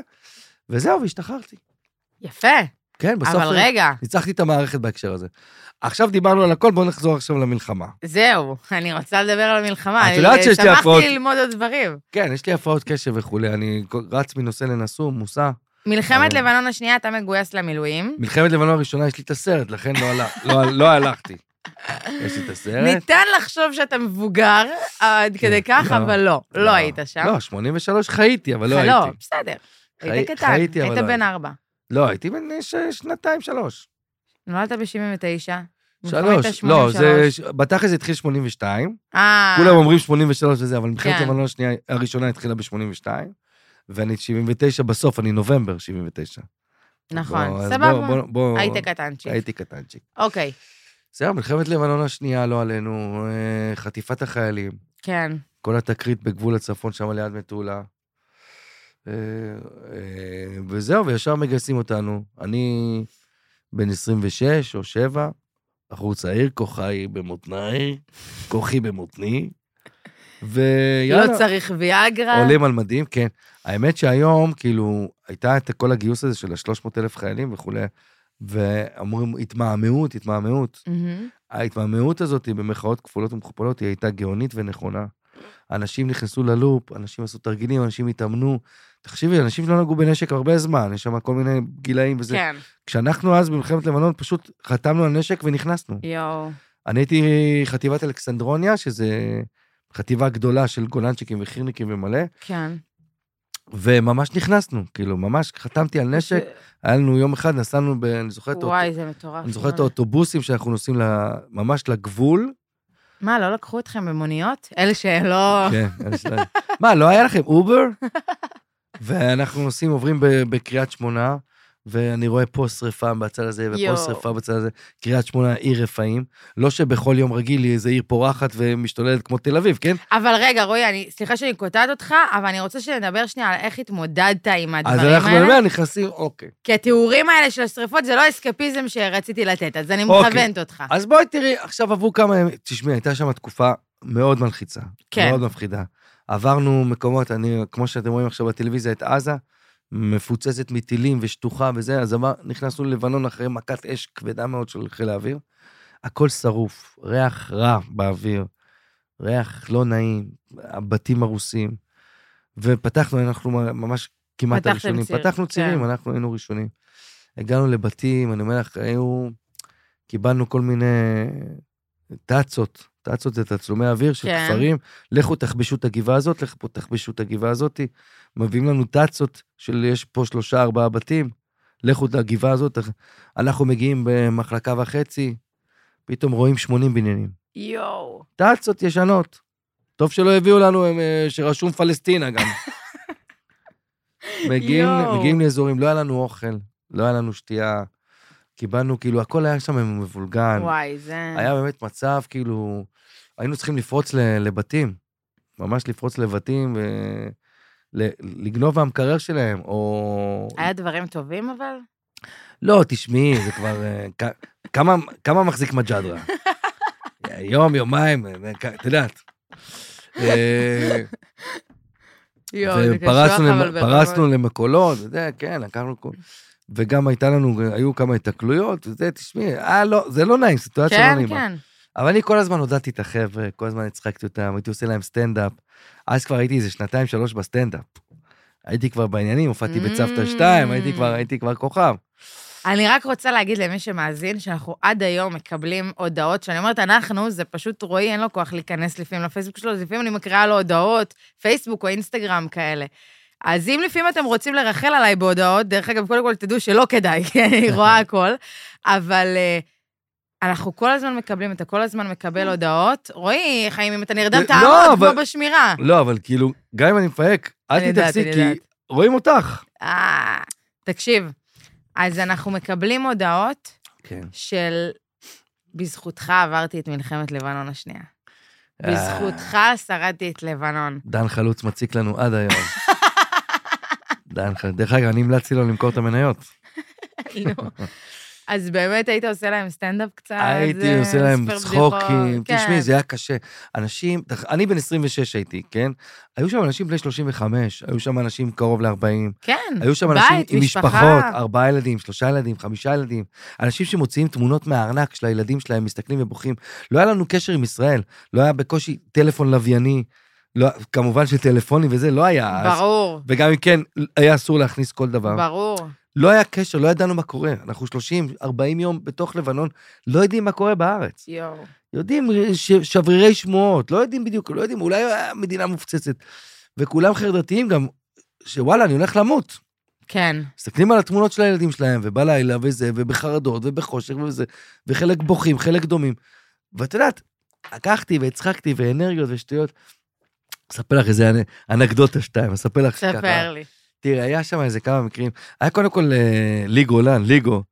Speaker 3: וזהו, והשתחררתי.
Speaker 2: יפה,
Speaker 3: כן, בסוף...
Speaker 2: אבל רגע,
Speaker 3: ניצחתי את המערכת בהקשר הזה. עכשיו דיברנו על הכל, בואו נחזור עכשיו למלחמה.
Speaker 2: זהו, <laughs> אני רוצה לדבר על מלחמה.
Speaker 3: את יודעת שיש לי הפרעות.
Speaker 2: שמחתי ללמוד עוד דברים.
Speaker 3: כן, יש לי הפרעות קשב וכולי, אני רץ מנושא לנשוא, מושא.
Speaker 2: מלחמת
Speaker 3: אבל-
Speaker 2: לבנון השנייה, אתה מגויס למילואים.
Speaker 3: מלחמת לבנון הראשונה, יש לי את הסרט, לכן לא, הלך, לא, לא הלכתי. יש לי את הסרט.
Speaker 2: ניתן לחשוב שאתה מבוגר עד כדי כך,
Speaker 3: לא.
Speaker 2: אבל לא, לא היית שם.
Speaker 3: לא, 83 חייתי, אבל לא
Speaker 2: לא,
Speaker 3: הייתי.
Speaker 2: בסדר. היית
Speaker 3: חי-
Speaker 2: קטן,
Speaker 3: חייתי, אבל
Speaker 2: היית
Speaker 3: לא
Speaker 2: בן
Speaker 3: הייתי.
Speaker 2: ארבע.
Speaker 3: לא, הייתי בן ש- שנתיים, שלוש.
Speaker 2: נולדת ב-79.
Speaker 3: שלוש, לא, זה, ש- בתכל'ס זה התחיל 82,
Speaker 2: אה,
Speaker 3: כולם אומרים 83 וזה, אבל מלחמת
Speaker 2: כן.
Speaker 3: לבנון השנייה, הראשונה התחילה ב-82, ואני 79 בסוף, אני נובמבר 79.
Speaker 2: נכון,
Speaker 3: בוא, לא, אז בוא-
Speaker 2: סבבה,
Speaker 3: בוא- בוא-
Speaker 2: היית קטנצ'יק.
Speaker 3: הייתי קטנצ'יק.
Speaker 2: אוקיי,
Speaker 3: זהו, מלחמת לבנון השנייה, לא עלינו, אה, חטיפת החיילים,
Speaker 2: כן.
Speaker 3: כל התקרית בגבול הצפון, שם ליד מטולה. אה, אה, וזהו, וישר מגייסים אותנו. אני בן 26 או 7, בחור צעיר, כוחי במותניי, כוחי במותני, ויאללה.
Speaker 2: לא צריך ויאגרה.
Speaker 3: עולים על מדים, כן. האמת שהיום, כאילו, הייתה את כל הגיוס הזה של ה-300 אלף חיילים וכולי, ואמורים, התמהמהות, התמהמהות.
Speaker 2: מהמם.
Speaker 3: ההתמהמהות הזאת, במרכאות כפולות ומכופלות, היא הייתה גאונית ונכונה. אנשים נכנסו ללופ, אנשים עשו תרגילים, אנשים התאמנו. תחשבי, אנשים לא נגעו בנשק הרבה זמן, יש שם כל מיני גילאים וזה.
Speaker 2: כן,
Speaker 3: כשאנחנו אז במלחמת לבנון, פשוט חתמנו על נשק ונכנסנו.
Speaker 2: יואו.
Speaker 3: אני הייתי חטיבת אלכסנדרוניה, שזה חטיבה גדולה של גולנצ'יקים וחירניקים ומלא,
Speaker 2: כן.
Speaker 3: וממש נכנסנו, כאילו, ממש חתמתי על נשק,
Speaker 2: <laughs>
Speaker 3: היה לנו יום אחד, נסענו, ב... אני זוכר את האוטו-
Speaker 2: וואי, זה מטורף.
Speaker 3: אני זוכר את האוטובוסים שאנחנו נוסעים ל- ממש לגבול.
Speaker 2: מה, לא לקחו אתכם במוניות? אלה שלא...
Speaker 3: כן, אין שאלה. מה, לא היה לכם אובר? ואנחנו נוסעים, עוברים ב- בקריית שמונה, ואני רואה פה שרפה בצד הזה,
Speaker 2: יואו.
Speaker 3: ופה שרפה בצד הזה. קריית שמונה, עיר רפאים. לא שבכל יום רגיל היא איזו עיר פורחת ומשתוללת כמו תל אביב, כן?
Speaker 2: אבל רגע, רועי, אני, סליחה שאני קוטעת אותך, אבל אני רוצה שנדבר שנייה על איך התמודדת עם הדברים
Speaker 3: אז
Speaker 2: האלה.
Speaker 3: אנחנו באמת נכנסים, אוקיי.
Speaker 2: כי התיאורים האלה של השרפות זה לא אסקפיזם שרציתי לתת, אז אני
Speaker 3: אוקיי.
Speaker 2: מכוונת אותך.
Speaker 3: אז בואי תראי, עכשיו עברו כמה ימים, תשמעי, הייתה שם תקופה מאוד מלחיצה.
Speaker 2: כן.
Speaker 3: מאוד מפחידה. עברנו מקומות, אני, כמו שאתם רואים עכשיו בטלוויזיה, את עזה, מפוצצת מטילים ושטוחה וזה, אז עבר, נכנסנו ללבנון אחרי מכת אש כבדה מאוד של חיל האוויר. הכל שרוף, ריח רע באוויר, ריח לא נעים, הבתים הרוסים. ופתחנו, אנחנו ממש כמעט
Speaker 2: פתחתם
Speaker 3: הראשונים.
Speaker 2: ציר,
Speaker 3: פתחנו צירים,
Speaker 2: כן.
Speaker 3: אנחנו היינו ראשונים. הגענו לבתים, אני אומר לך, היו... קיבלנו כל מיני טאצות, טאצות זה תצלומי אוויר של
Speaker 2: כן.
Speaker 3: כפרים, לכו תכבשו את הגבעה הזאת, לכו תכבשו את הגבעה הזאת, מביאים לנו טאצות של יש פה שלושה ארבעה בתים, לכו לגבעה הזאת, תח- אנחנו מגיעים במחלקה וחצי, פתאום רואים 80 בניינים.
Speaker 2: יואו.
Speaker 3: טאצות ישנות. טוב שלא הביאו לנו אה, שרשום פלסטינה גם. מגיעים,
Speaker 2: יואו.
Speaker 3: מגיעים לאזורים, לא היה לנו אוכל, לא היה לנו שתייה. קיבלנו, כאילו, הכל היה שם מבולגן.
Speaker 2: וואי, זה...
Speaker 3: כן. היה באמת מצב, כאילו, היינו צריכים לפרוץ ל- לבתים, ממש לפרוץ לבתים, ו- ל- לגנוב מהמקרר שלהם, או...
Speaker 2: היה דברים טובים, אבל?
Speaker 3: לא, תשמעי, זה כבר... אה, כ- כמה, כמה מחזיק מג'דרה? יום, יומיים, אה, כ- את יודעת. אה,
Speaker 2: יואו, זה קשוח,
Speaker 3: ופרצנו למ-
Speaker 2: אבל ברמות.
Speaker 3: פרצנו למקולות, וזה, כן, לקחנו... כל- וגם הייתה לנו, היו כמה התקלויות, וזה, תשמעי, אה, לא, זה לא נעים, סיטואציה לא
Speaker 2: כן,
Speaker 3: נעימה.
Speaker 2: כן.
Speaker 3: אבל אני כל הזמן הודעתי את החבר'ה, כל הזמן הצחקתי אותם, הייתי עושה להם סטנדאפ. אז כבר הייתי איזה שנתיים, שלוש בסטנדאפ. הייתי כבר בעניינים, הופעתי בצוותא
Speaker 2: Mm.
Speaker 3: שתיים, הייתי כבר, הייתי כבר כוכב.
Speaker 2: אני רק רוצה להגיד למי שמאזין, שאנחנו עד היום מקבלים הודעות, שאני אומרת אנחנו, זה פשוט רועי, אין לו כוח להיכנס לפעמים לפייסבוק שלו, אז לפעמים אני מקריאה לו הודעות, פייסבוק או אינסטגרם כאלה. אז אם לפעמים אתם רוצים לרחל עליי בהודעות, דרך אגב, קודם כל תדעו שלא כדאי, כי
Speaker 3: <laughs>
Speaker 2: אני רואה הכל, אבל אה, אנחנו כל הזמן מקבלים, אתה כל הזמן מקבל הודעות. רועי, חיים, אם אתה נרדם,
Speaker 3: Mm. לא,
Speaker 2: תעמוד כמו
Speaker 3: אבל-
Speaker 2: בשמירה.
Speaker 3: לא, אבל כאילו, גם אם אני מפהק,
Speaker 2: אני
Speaker 3: אל
Speaker 2: יודעת,
Speaker 3: תתייחסי,
Speaker 2: אני
Speaker 3: כי
Speaker 2: יודעת.
Speaker 3: רואים אותך.
Speaker 2: אה, תקשיב, אז אנחנו מקבלים הודעות,
Speaker 3: כן.
Speaker 2: של בזכותך עברתי את מלחמת לבנון השנייה.
Speaker 3: אה.
Speaker 2: בזכותך שרדתי את
Speaker 3: <laughs>
Speaker 2: לבנון. <laughs>
Speaker 3: דן חלוץ מציק לנו עד היום. דן חלוץ, דרך אגב, אני המלצתי לו למכור את המניות.
Speaker 2: נו. אז באמת היית עושה להם סטנדאפ קצת?
Speaker 3: הייתי
Speaker 2: אה, זה
Speaker 3: עושה להם
Speaker 2: מספר
Speaker 3: צחוקים,
Speaker 2: בדיחות,
Speaker 3: תשמעי,
Speaker 2: כן.
Speaker 3: זה היה קשה. אנשים, אני בן 26 הייתי, כן? היו שם אנשים בני 35, היו שם אנשים קרוב ל-40,
Speaker 2: כן,
Speaker 3: היו שם
Speaker 2: בית,
Speaker 3: אנשים עם
Speaker 2: משפחה.
Speaker 3: משפחות, ארבעה ילדים, שלושה ילדים, חמישה ילדים, אנשים שמוציאים תמונות מהארנק של הילדים שלהם, מסתכלים ובוכים. לא היה לנו קשר עם ישראל, לא היה בקושי טלפון לווייני, לא, כמובן שטלפונים וזה לא היה אז.
Speaker 2: ברור,
Speaker 3: וגם אם כן, היה אסור להכניס כל דבר.
Speaker 2: ברור.
Speaker 3: לא היה קשר, לא ידענו מה קורה. אנחנו 30, 40 יום בתוך לבנון, לא יודעים מה קורה בארץ.
Speaker 2: יואו.
Speaker 3: יודעים ש- שברירי שמועות, לא יודעים בדיוק, לא יודעים, אולי המדינה מופצצת. וכולם חרדתיים גם, שוואלה, אני הולך למות.
Speaker 2: כן,
Speaker 3: מסתכלים על התמונות של הילדים שלהם, ובלילה וזה, ובחרדות, ובחושך וזה, וחלק בוכים, חלק דומים. ואת יודעת, לקחתי והצחקתי, ואנרגיות ושטויות. אספר לך איזה אנ- אנקדוטה שתיים, אספר לך ככה.
Speaker 2: ספר לי.
Speaker 3: תראה, היה שם איזה כמה מקרים. היה קודם כל אה, לי גולן, ליגו,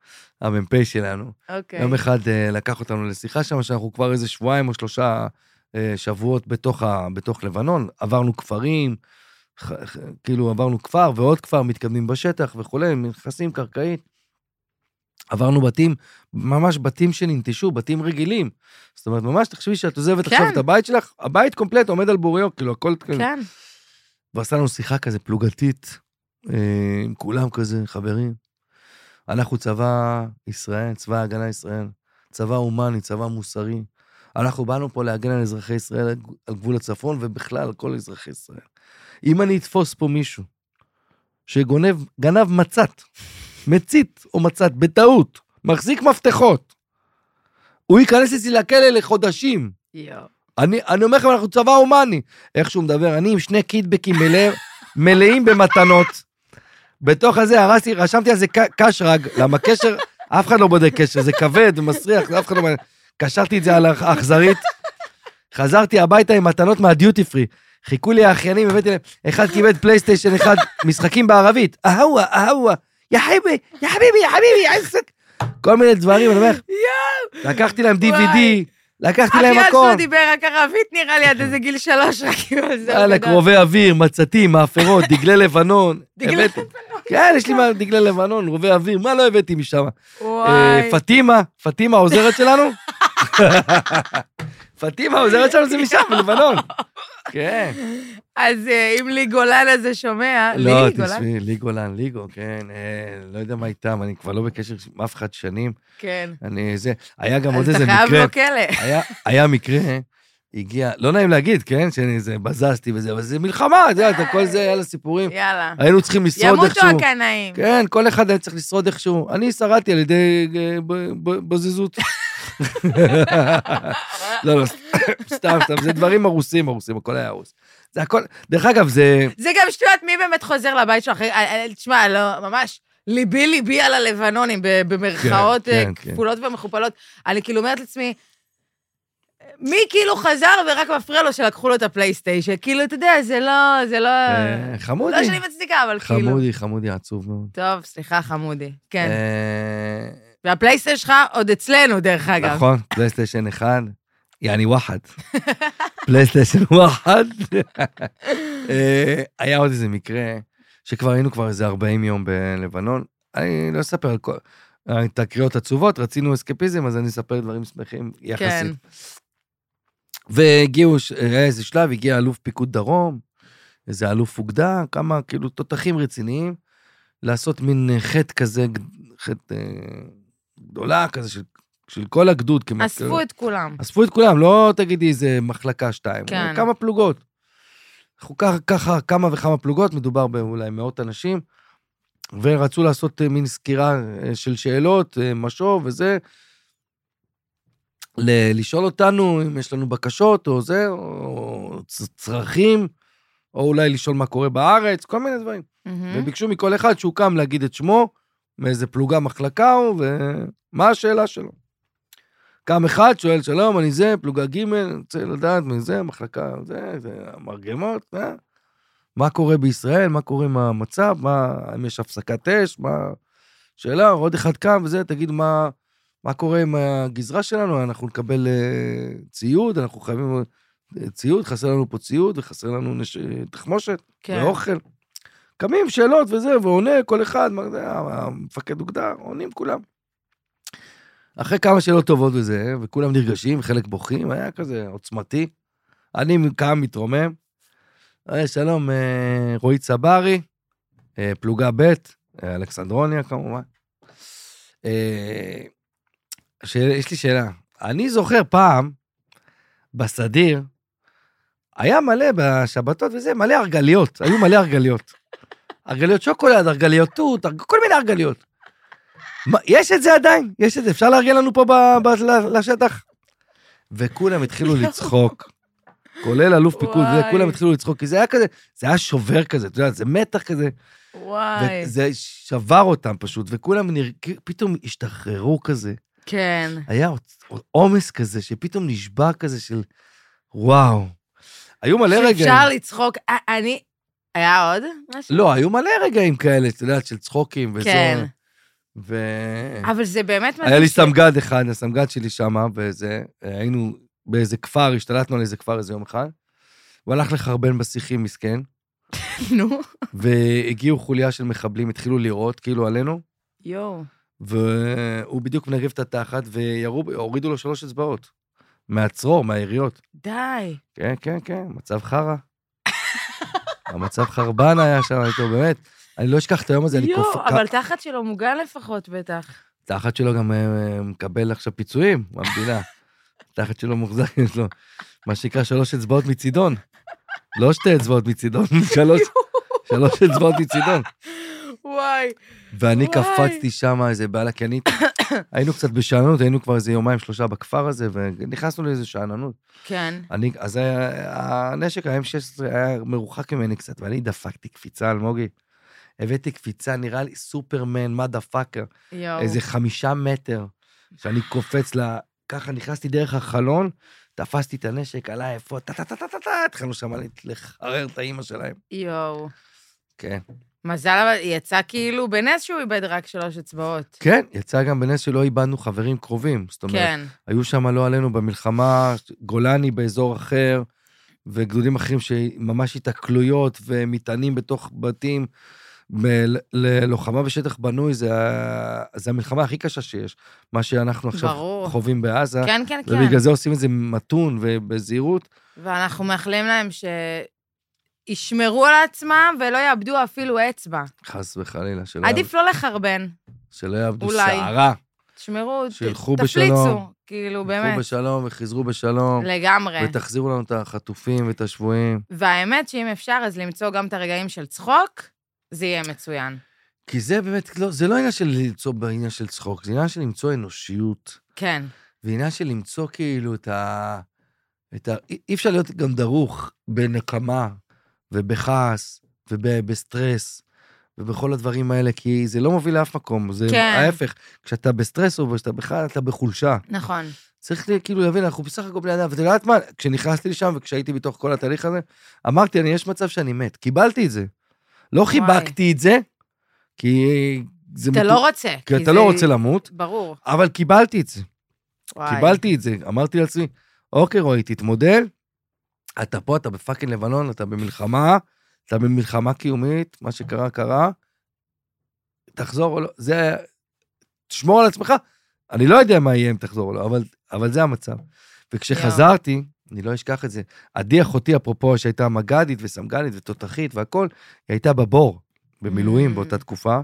Speaker 3: המ"פ שלנו.
Speaker 2: אוקיי.
Speaker 3: יום אחד אה, לקח אותנו לשיחה שם, שאנחנו כבר איזה שבועיים או שלושה אה, שבועות בתוך, ה, בתוך לבנון. עברנו כפרים, ח, ח, כאילו עברנו כפר ועוד כפר, מתקדמים בשטח וכולי, נכנסים קרקעית. עברנו בתים, ממש בתים שננטשו, בתים רגילים. זאת אומרת, ממש תחשבי שאת עוזבת
Speaker 2: כן.
Speaker 3: עכשיו את הבית שלך, הבית קומפלט עומד על בוריו, כאילו הכל...
Speaker 2: כן,
Speaker 3: ועשה לנו שיחה כזה פלוגתית, אה, עם כולם כזה, חברים. אנחנו צבא ישראל, צבא ההגנה ישראל, צבא הומני, צבא מוסרי. אנחנו באנו פה להגן על אזרחי ישראל, על גבול הצפון, ובכלל, על כל אזרחי ישראל. אם אני אתפוס פה מישהו שגונב, גנב מצת, מצית או מצת, בטעות, מחזיק מפתחות, הוא ייכנס אצלי לכלא לחודשים.
Speaker 2: יואו.
Speaker 3: אני, אני אומר לכם, אנחנו צבא הומני. איך שהוא מדבר, אני עם שני קיטבקים
Speaker 2: <laughs>
Speaker 3: מלא, מלאים במתנות. בתוך הזה הרסתי, רשמתי על זה ק- קשרג, למה קשר, אף אחד לא בודק קשר, זה כבד ומסריח, זה אף אחד לא מעניין. קשרתי את זה על האכ- האכזרית. חזרתי הביתה עם מתנות מהדיוטי פרי. חיכו לי האחיינים, הבאתי להם, אחד קיבל פלייסטיישן, אחד משחקים בערבית. אהווה, אהווה, יא חביבי, יא חביבי, יא חביבי, יא עסק. כל מיני דברים, אני אומר לך, לקחתי להם DVD,
Speaker 2: וואי.
Speaker 3: לקחתי
Speaker 2: אחי,
Speaker 3: להם
Speaker 2: אז
Speaker 3: הכל.
Speaker 2: לא דיבר רק ערבית נראה
Speaker 3: <laughs>
Speaker 2: לי עד איזה גיל שלוש, רק כאילו על זה. הוא
Speaker 3: יאללה,
Speaker 2: גדל.
Speaker 3: קרובי אוויר,
Speaker 2: <laughs>
Speaker 3: מצתים, מאפרות, דגלי לבנון.
Speaker 2: דגלי לא.
Speaker 3: הבאתי. כן, יש לי מה- דגלי לבנון, קרובי אוויר, מה לא הבאתי משם?
Speaker 2: וואי.
Speaker 3: אה, פטימה, פטימה העוזרת
Speaker 2: <laughs>
Speaker 3: שלנו? פטימה העוזרת שלנו זה משם,
Speaker 2: <laughs>
Speaker 3: מלבנון. כן.
Speaker 2: אז אה, אם לי גולן הזה שומע,
Speaker 3: לא,
Speaker 2: לי גולן?
Speaker 3: תשמעי, לי גולן, ליגו, כן. אה, לא יודע מה איתם, אני כבר לא בקשר עם אף אחד שנים.
Speaker 2: כן.
Speaker 3: אני זה, היה גם עוד
Speaker 2: אז אתה
Speaker 3: איזה
Speaker 2: חייב לא
Speaker 3: מקרה.
Speaker 2: לו כלא.
Speaker 3: היה, היה מקרה, הגיע, לא נעים להגיד, כן, שאני זה, בזזתי וזה, אבל זה מלחמה, את יודעת, כל זה, היה לה סיפורים.
Speaker 2: יאללה.
Speaker 3: היינו צריכים לשרוד
Speaker 2: ימותו
Speaker 3: איכשהו.
Speaker 2: הקנאים.
Speaker 3: כן, כל אחד היה צריך לשרוד איכשהו. אני שרדתי על ידי אה, ב- ב- בזיזות. לא, לא, סתם, סתם, זה דברים הרוסים, הרוסים, הכל היה הרוס. זה הכל, דרך אגב, זה...
Speaker 2: זה גם שטויות, מי באמת חוזר לבית שלו אחרי... אה, אה, תשמע, לא, ממש, ליבי ליבי על הלבנונים, ב- במרכאות
Speaker 3: כן,
Speaker 2: אה,
Speaker 3: כן, כן.
Speaker 2: כפולות ומכופלות. אני כאילו אומרת לעצמי, מי כאילו חזר ורק מפריע לו שלקחו לו את הפלייסטיישן? כאילו, אתה יודע, זה לא, זה לא...
Speaker 3: אה, חמודי.
Speaker 2: לא שאני מצדיקה, אבל כאילו...
Speaker 3: חמודי, חמודי עצוב מאוד.
Speaker 2: טוב, סליחה, חמודי. כן.
Speaker 3: אה,
Speaker 2: והפלייסטיישן שלך עוד אצלנו, דרך אגב.
Speaker 3: נכון, פלייסטיישן 1, יעני וואחד. <laughs> פלייסטיישן וואחד. <laughs> אה, היה עוד איזה מקרה, שכבר היינו כבר איזה 40 יום בלבנון. אני לא אספר על כל... אה, תקריות עצובות, רצינו אסקפיזם, אז אני אספר דברים שמחים
Speaker 2: כן.
Speaker 3: יחסית. והגיעו, היה איזה שלב, הגיע אלוף פיקוד דרום, איזה אלוף אוגדה, כמה כאילו תותחים רציניים, לעשות מין אה, חטא כזה, גד- חטא אה, גדולה כזה של, של כל הגדוד. כמעט, כאילו.
Speaker 2: אספו את כולם.
Speaker 3: אספו את כולם, לא תגידי איזה מחלקה שתיים,
Speaker 2: כן.
Speaker 3: כן. כמה פלוגות. אנחנו ככה, ככה כמה וכמה פלוגות, מדובר באולי מאות אנשים, ורצו לעשות אה, מין סקירה אה, של שאלות, אה, משוב וזה, ל- לשאול אותנו אם יש לנו בקשות או זה, או צ- צרכים, או אולי לשאול מה קורה בארץ, כל מיני דברים.
Speaker 2: מהמם.
Speaker 3: וביקשו מכל אחד שהוא קם להגיד את שמו, מאיזה פלוגה מחלקה הוא, ומה השאלה שלו. קם אחד, שואל, שלום, אני זה, פלוגה ג', אני רוצה לדעת מי זה, מחלקה, זה, זה, המרגמות, אה? מה קורה בישראל, מה קורה עם המצב, מה, אם יש הפסקת אש, מה... שאלה, עוד אחד קם וזה, תגיד, מה, מה קורה עם הגזרה שלנו, אנחנו נקבל אה, ציוד, אנחנו חייבים אה, ציוד, חסר לנו פה ציוד, וחסר לנו נש... תחמושת.
Speaker 2: כן.
Speaker 3: ואוכל. קמים, שאלות וזה, ועונה כל אחד, מה זה, המפקד אוגדה, עונים כולם. אחרי כמה שאלות טובות וזה, וכולם נרגשים, חלק בוכים, היה כזה עוצמתי. אני קם, מתרומם. אה, שלום, אה, רועי צברי, אה, פלוגה ב', אה, אלכסנדרוניה כמובן. אה, ש- יש לי שאלה. אני זוכר פעם, בסדיר, היה מלא בשבתות וזה, מלא הרגליות, היו מלא הרגליות. הרגליות שוקולד, הרגליות תות, הרג- כל מיני הרגליות. מה, יש את זה עדיין, יש את זה, אפשר לארגן לנו פה ב- ב- ל- לשטח. וכולם התחילו לצחוק, כולל אלוף פיקוד, וזה,
Speaker 2: וואי.
Speaker 3: כולם התחילו לצחוק, כי זה היה כזה, זה היה שובר כזה, אתה יודע, זה מתח כזה,
Speaker 2: וואי.
Speaker 3: וזה שבר אותם פשוט, וכולם נר... פתאום השתחררו כזה.
Speaker 2: כן.
Speaker 3: היה עוצ- עומס כזה, שפתאום נשבר כזה של וואו. היו מלא רגעים.
Speaker 2: שאפשר לצחוק. א- אני... היה עוד משהו?
Speaker 3: לא, היו מלא רגעים כאלה, את יודעת, של צחוקים וזה.
Speaker 2: כן.
Speaker 3: ו...
Speaker 2: אבל זה באמת מדהים.
Speaker 3: היה לי
Speaker 2: ש-
Speaker 3: סמג"ד אחד, הסמג"ד שלי שמה, וזה, היינו באיזה כפר, השתלטנו על איזה כפר איזה יום אחד. הוא הלך לחרבן
Speaker 2: <laughs>
Speaker 3: בשיחים, מסכן,
Speaker 2: <laughs> נו.
Speaker 3: והגיעו חוליה של מחבלים, התחילו לירות, כאילו, עלינו,
Speaker 2: יואו.
Speaker 3: והוא בדיוק מנגב את התחת, וירו, הורידו לו שלוש אצבעות. מהצרור, מהיריות.
Speaker 2: די.
Speaker 3: כן, כן, כן, מצב
Speaker 2: <laughs>
Speaker 3: חרא. המצב חרבן היה שם איתו, באמת. אני לא אשכח את היום הזה, אני
Speaker 2: יואו,
Speaker 3: כופ...
Speaker 2: אבל תחת שלו מוגן לפחות בטח.
Speaker 3: תחת שלו גם אה, מקבל עכשיו פיצויים
Speaker 2: <laughs>
Speaker 3: מהמדינה. תחת שלו מוחזק, יש לו מה שנקרא שלוש אצבעות מצידון. לא שתי אצבעות מצידון, <laughs> שלוש, שלוש אצבעות מצידון.
Speaker 2: וואי.
Speaker 3: ואני
Speaker 2: וואי.
Speaker 3: קפצתי שם איזה בלקנית. היינו קצת בשאננות, היינו כבר איזה יומיים, שלושה בכפר הזה, ונכנסנו לאיזה שאננות.
Speaker 2: כן.
Speaker 3: אני, אז היה- הנשק, ה-M16 היה מרוחק ממני קצת, ואני דפקתי קפיצה אלמוגי. הבאתי קפיצה, נראה לי סופרמן, מה דפאקר.
Speaker 2: יואו.
Speaker 3: איזה חמישה מטר, שאני קופץ ל... ככה נכנסתי דרך החלון, תפסתי את הנשק, עלה איפה, טה-טה-טה-טה-טה, התחלנו שם לת- לחרר את האימא שלהם.
Speaker 2: יואו.
Speaker 3: כן.
Speaker 2: מזל, אבל יצא כאילו בנס שהוא איבד רק שלוש אצבעות.
Speaker 3: כן, יצא גם בנס שלא איבדנו חברים קרובים. זאת אומרת,
Speaker 2: כן.
Speaker 3: היו שם, לא עלינו, במלחמה, גולני באזור אחר, וגדודים אחרים שממש התקלויות ומטענים בתוך בתים. ב- ל- ללוחמה בשטח בנוי, זה, ה- זה המלחמה הכי קשה שיש, מה שאנחנו עכשיו
Speaker 2: ברור.
Speaker 3: חווים בעזה.
Speaker 2: כן, כן,
Speaker 3: ובגלל
Speaker 2: כן.
Speaker 3: אה, זה עושים את זה מתון ובזהירות.
Speaker 2: ואנחנו מאחלים להם שישמרו על עצמם ולא יאבדו אפילו אצבע.
Speaker 3: חס וחלילה, שלא, יעב,
Speaker 2: עדיף לא לחרבן.
Speaker 3: שלא יעבדו
Speaker 2: אולי.
Speaker 3: שערה.
Speaker 2: תשמרו, ת-
Speaker 3: שילכו
Speaker 2: תפליצו.
Speaker 3: בשלום.
Speaker 2: כאילו,
Speaker 3: ילכו
Speaker 2: באמת.
Speaker 3: בשלום וחזרו בשלום,
Speaker 2: לגמרי.
Speaker 3: ותחזירו לנו את החטופים ואת השבויים.
Speaker 2: והאמת שאם אפשר, אז למצוא גם את הרגעים של צחוק, זה יהיה מצוין.
Speaker 3: כי זה באמת, לא, זה לא עניין של למצוא בעניין של צחוק, זה עניין של למצוא אנושיות.
Speaker 2: כן.
Speaker 3: ועניין של למצוא כאילו את ה... את ה... אי אי אפשר להיות גם דרוך בנקמה ובכעס ובסטרס ובכל הדברים האלה, כי זה לא מוביל לאף מקום, זה
Speaker 2: כן.
Speaker 3: ההפך. כשאתה בסטרס או כשאתה בכלל, אתה בחולשה.
Speaker 2: נכון.
Speaker 3: צריך לי, כאילו להבין, אנחנו בסך הכל בני אדם, ואת יודעת מה, כשנכנסתי לשם וכשהייתי בתוך כל התהליך הזה, אמרתי, אני, יש מצב שאני מת. קיבלתי את זה. לא חיבקתי את זה, כי זה...
Speaker 2: אתה
Speaker 3: מטו-
Speaker 2: לא רוצה.
Speaker 3: כי אתה לא רוצה למות,
Speaker 2: ברור.
Speaker 3: אבל קיבלתי את זה.
Speaker 2: וואי.
Speaker 3: קיבלתי את זה, אמרתי לעצמי, אוקיי, רועי, תתמודד, אתה פה, אתה בפאקינג לבנון, אתה במלחמה, אתה במלחמה קיומית, מה שקרה, קרה, תחזור או לא, זה... תשמור על עצמך, אני לא יודע מה יהיה אם תחזור או לא, אבל, אבל זה המצב. וכשחזרתי, אני לא אשכח את זה, עדי אחותי, אפרופו, שהייתה מג"דית וסמג"לית ותותחית והכול, היא הייתה בבור, במילואים
Speaker 2: Mm.
Speaker 3: באותה תקופה,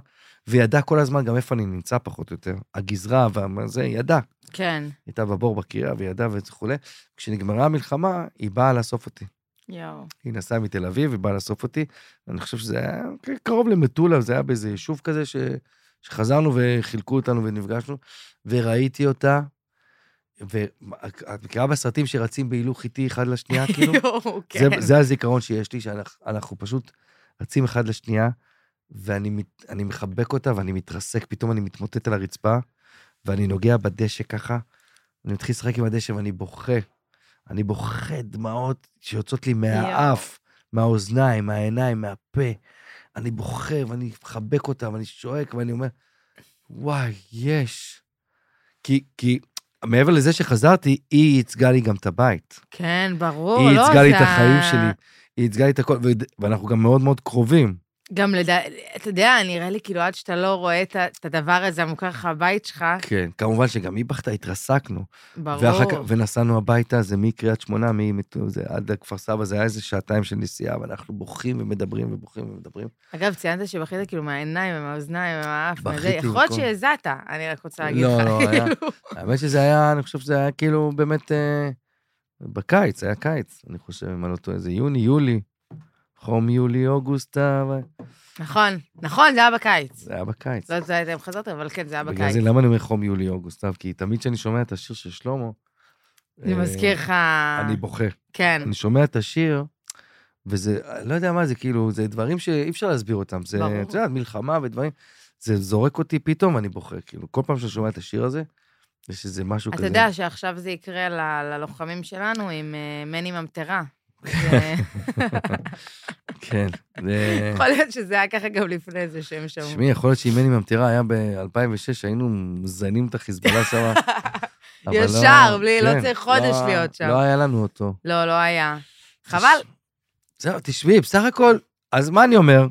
Speaker 3: והיא ידעה כל הזמן גם איפה אני נמצא פחות או יותר. הגזרה והזה, היא ידעה.
Speaker 2: כן.
Speaker 3: הייתה בבור בקריה וידעה וכולי. כשנגמרה המלחמה, היא באה לאסוף אותי.
Speaker 2: יואו.
Speaker 3: היא נסעה מתל אביב, היא באה לאסוף אותי. אני חושב שזה היה כן, קרוב למטולה, זה היה באיזה יישוב כזה ש... שחזרנו וחילקו אותנו ונפגשנו, וראיתי אותה. ואת מכירה בסרטים שרצים בהילוך איטי אחד לשנייה, כאילו?
Speaker 2: יואו, כן.
Speaker 3: זה, זה הזיכרון שיש לי, שאנחנו אנחנו פשוט רצים אחד לשנייה, ואני מת- אני מחבק אותה ואני מתרסק, פתאום אני מתמוטט על הרצפה, ואני נוגע בדשא ככה, אני מתחיל לשחק עם הדשא ואני בוכה. אני בוכה דמעות שיוצאות לי מהאף, מהאוזניים, מהעיניים, מהפה. אני בוכה ואני מחבק אותה ואני שואק ואני אומר, וואי, יש. כי, כי מעבר לזה שחזרתי, היא ייצגה לי גם את הבית.
Speaker 2: כן, ברור.
Speaker 3: היא
Speaker 2: לא,
Speaker 3: ייצגה לי
Speaker 2: זה
Speaker 3: את החיים
Speaker 2: ה-
Speaker 3: שלי, היא ייצגה לי את הכל, ו- ואנחנו גם מאוד מאוד קרובים.
Speaker 2: גם לדע... אתה יודע, נראה לי כאילו עד שאתה לא רואה את ה- את הדבר הזה המוכר לך בבית שלך,
Speaker 3: כן. כמובן שגם היא בכתה, התרסקנו.
Speaker 2: אה. ברור.
Speaker 3: ואחר כך, ונסענו הביתה, זה מקריית שמונה, מ- מ- זה עד כפר סבא, זה היה איזה שעתיים של נסיעה, ואנחנו בוכים ומדברים ובוכים ומדברים.
Speaker 2: אגב, ציינת שבכית כאילו מהעיניים ומהאוזניים ומהאף, מזה.
Speaker 3: בכיתי
Speaker 2: יכול להיות
Speaker 3: מכל-
Speaker 2: שהזעת, אני רק רוצה להגיד
Speaker 3: לא,
Speaker 2: לך.
Speaker 3: לא, היה-
Speaker 2: כאילו.
Speaker 3: האמת שזה היה, אני חושב שזה היה כאילו באמת אה, בקיץ, היה קיץ, אני חושב, אם אני לא טועה, זה יוני, יולי, חום יולי, אוגוסט, אבל-
Speaker 2: <laughs> נכון, נכון, זה היה בקיץ.
Speaker 3: זה היה בקיץ.
Speaker 2: לא יודעת אם אתם חזרתם, אבל כן, זה היה
Speaker 3: בגלל
Speaker 2: בקיץ.
Speaker 3: זה, למה אני אומר חום יולי, אוגוסט, סתיו? כי תמיד כשאני שומע את השיר של שלמה,
Speaker 2: אני
Speaker 3: אה,
Speaker 2: מזכיר לך...
Speaker 3: אני בוכה.
Speaker 2: כן,
Speaker 3: אני שומע את השיר, וזה, לא יודע מה זה, כאילו, זה דברים שאי אפשר להסביר אותם. זה,
Speaker 2: ברור.
Speaker 3: את יודעת, מלחמה ודברים, זה זורק אותי פתאום, אני בוכה. כאילו, כל פעם שאני שומע את השיר הזה, יש איזה משהו
Speaker 2: אתה
Speaker 3: כזה.
Speaker 2: יודע שעכשיו זה יקרה ל- ללוחמים שלנו עם אה, מני ממטרה. זה-
Speaker 3: <laughs> כן. זה-
Speaker 2: <laughs> יכול להיות שזה היה ככה גם לפני זה שהם שמעו.
Speaker 3: תשמעי, יכול להיות שאם אני ממטירה היה ב-2006, היינו מזיינים את החיזבאללה
Speaker 2: <laughs>
Speaker 3: שם. אבל לא-
Speaker 2: ישר, בלי- לא
Speaker 3: כן,
Speaker 2: צריך חודש
Speaker 3: לא-
Speaker 2: להיות שם.
Speaker 3: לא היה לנו אותו.
Speaker 2: לא, לא היה. חבל.
Speaker 3: זהו, תשמעי, בסך הכל, אז מה אני אומר?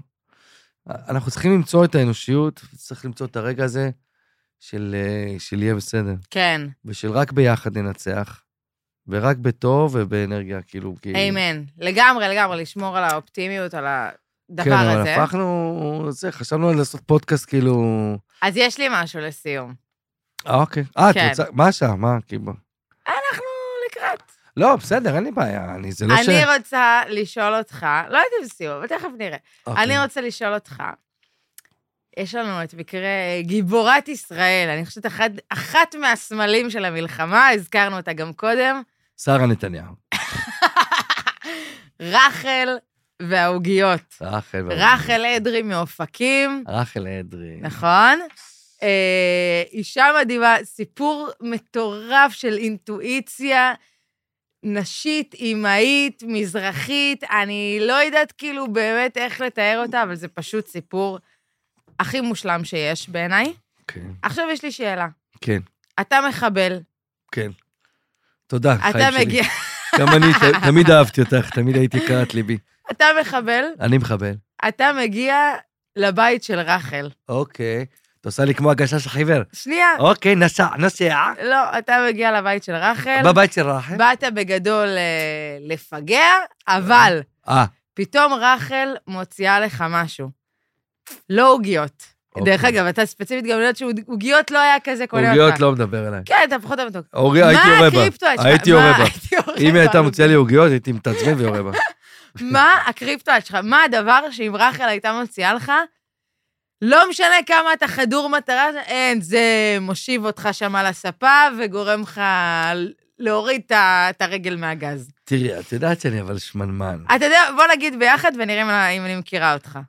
Speaker 3: אנחנו צריכים למצוא את האנושיות, צריך למצוא את הרגע הזה של, אה, של יהיה בסדר,
Speaker 2: כן,
Speaker 3: ושל רק ביחד ננצח, ורק בטוב ובאנרגיה, כאילו, כאילו...
Speaker 2: איימן. לגמרי, לגמרי, לשמור על האופטימיות, על
Speaker 3: כן,
Speaker 2: הדבר
Speaker 3: אבל
Speaker 2: הזה.
Speaker 3: הפכנו, זה, חשבנו על לעשות פודקאסט, כאילו...
Speaker 2: אז יש לי משהו לסיום.
Speaker 3: אה, אוקיי. אה, את
Speaker 2: כן.
Speaker 3: רוצה... מה השעה? מה, כאילו?
Speaker 2: אנחנו לקראת.
Speaker 3: לא, בסדר, אין לי בעיה, אני, זה לא ש...
Speaker 2: אני רוצה לשאול אותך, לא יודעת אם זה סיום, אבל תכף נראה.
Speaker 3: אוקיי.
Speaker 2: אני רוצה לשאול אותך, יש לנו את מקרה אה, גיבורת ישראל, אני חושבת אחת, אחת מהסמלים של המלחמה, הזכרנו אותה גם קודם,
Speaker 3: שרה נתניהו.
Speaker 2: רחל והעוגיות.
Speaker 3: רחל.
Speaker 2: רחל אדרי מאופקים,
Speaker 3: רחל אדרי.
Speaker 2: נכון? אה, אישה מדהימה, סיפור מטורף של אינטואיציה נשית, אימהית, מזרחית, אני לא יודעת כאילו באמת איך לתאר אותה, אבל זה פשוט סיפור הכי מושלם שיש בעיניי.
Speaker 3: כן.
Speaker 2: עכשיו יש לי שאלה.
Speaker 3: כן,
Speaker 2: אתה מחבל,
Speaker 3: כן. תודה, חיים
Speaker 2: אתה
Speaker 3: שלי.
Speaker 2: מגיע, <laughs>
Speaker 3: גם אני, ת- תמיד אהבתי אותך, תמיד הייתי קרת ליבי.
Speaker 2: אתה מחבל,
Speaker 3: אני מחבל.
Speaker 2: אתה מגיע לבית של רחל.
Speaker 3: אוקיי. את עושה לי כמו הגשש החיוור.
Speaker 2: שנייה,
Speaker 3: אוקיי, נסע, נוסע.
Speaker 2: לא, אתה מגיע לבית של רחל,
Speaker 3: בבית של רחל.
Speaker 2: באת בגדול אה, לפגע, אבל
Speaker 3: אה,
Speaker 2: פתאום רחל מוציאה לך משהו. לא עוגיות.
Speaker 3: אוקיי.
Speaker 2: דרך אגב, אתה ספציפית גם יודעת שעוגיות לא היה כזה קונה אותך.
Speaker 3: עוגיות לא מדבר אליי.
Speaker 2: כן, אתה פחות אוהב אותו.
Speaker 3: אורי, הייתי יורה בה. הייתי יורה בה. אם היא
Speaker 2: <laughs>
Speaker 3: הייתה מוציאה לי עוגיות, הייתי מתעצבן ויורה בה.
Speaker 2: מה הקריפטואט שלך? מה הדבר שאם רחל הייתה מוציאה לך, לא משנה כמה אתה חדור מטרה, אין, זה מושיב אותך שם על הספה וגורם לך להוריד את ה- את הרגל מהגז.
Speaker 3: תראי, את יודעת שאני אבל שמנמן.
Speaker 2: אתה יודע, בוא נגיד ביחד ונראה אם אני- אם אני מכירה אותך.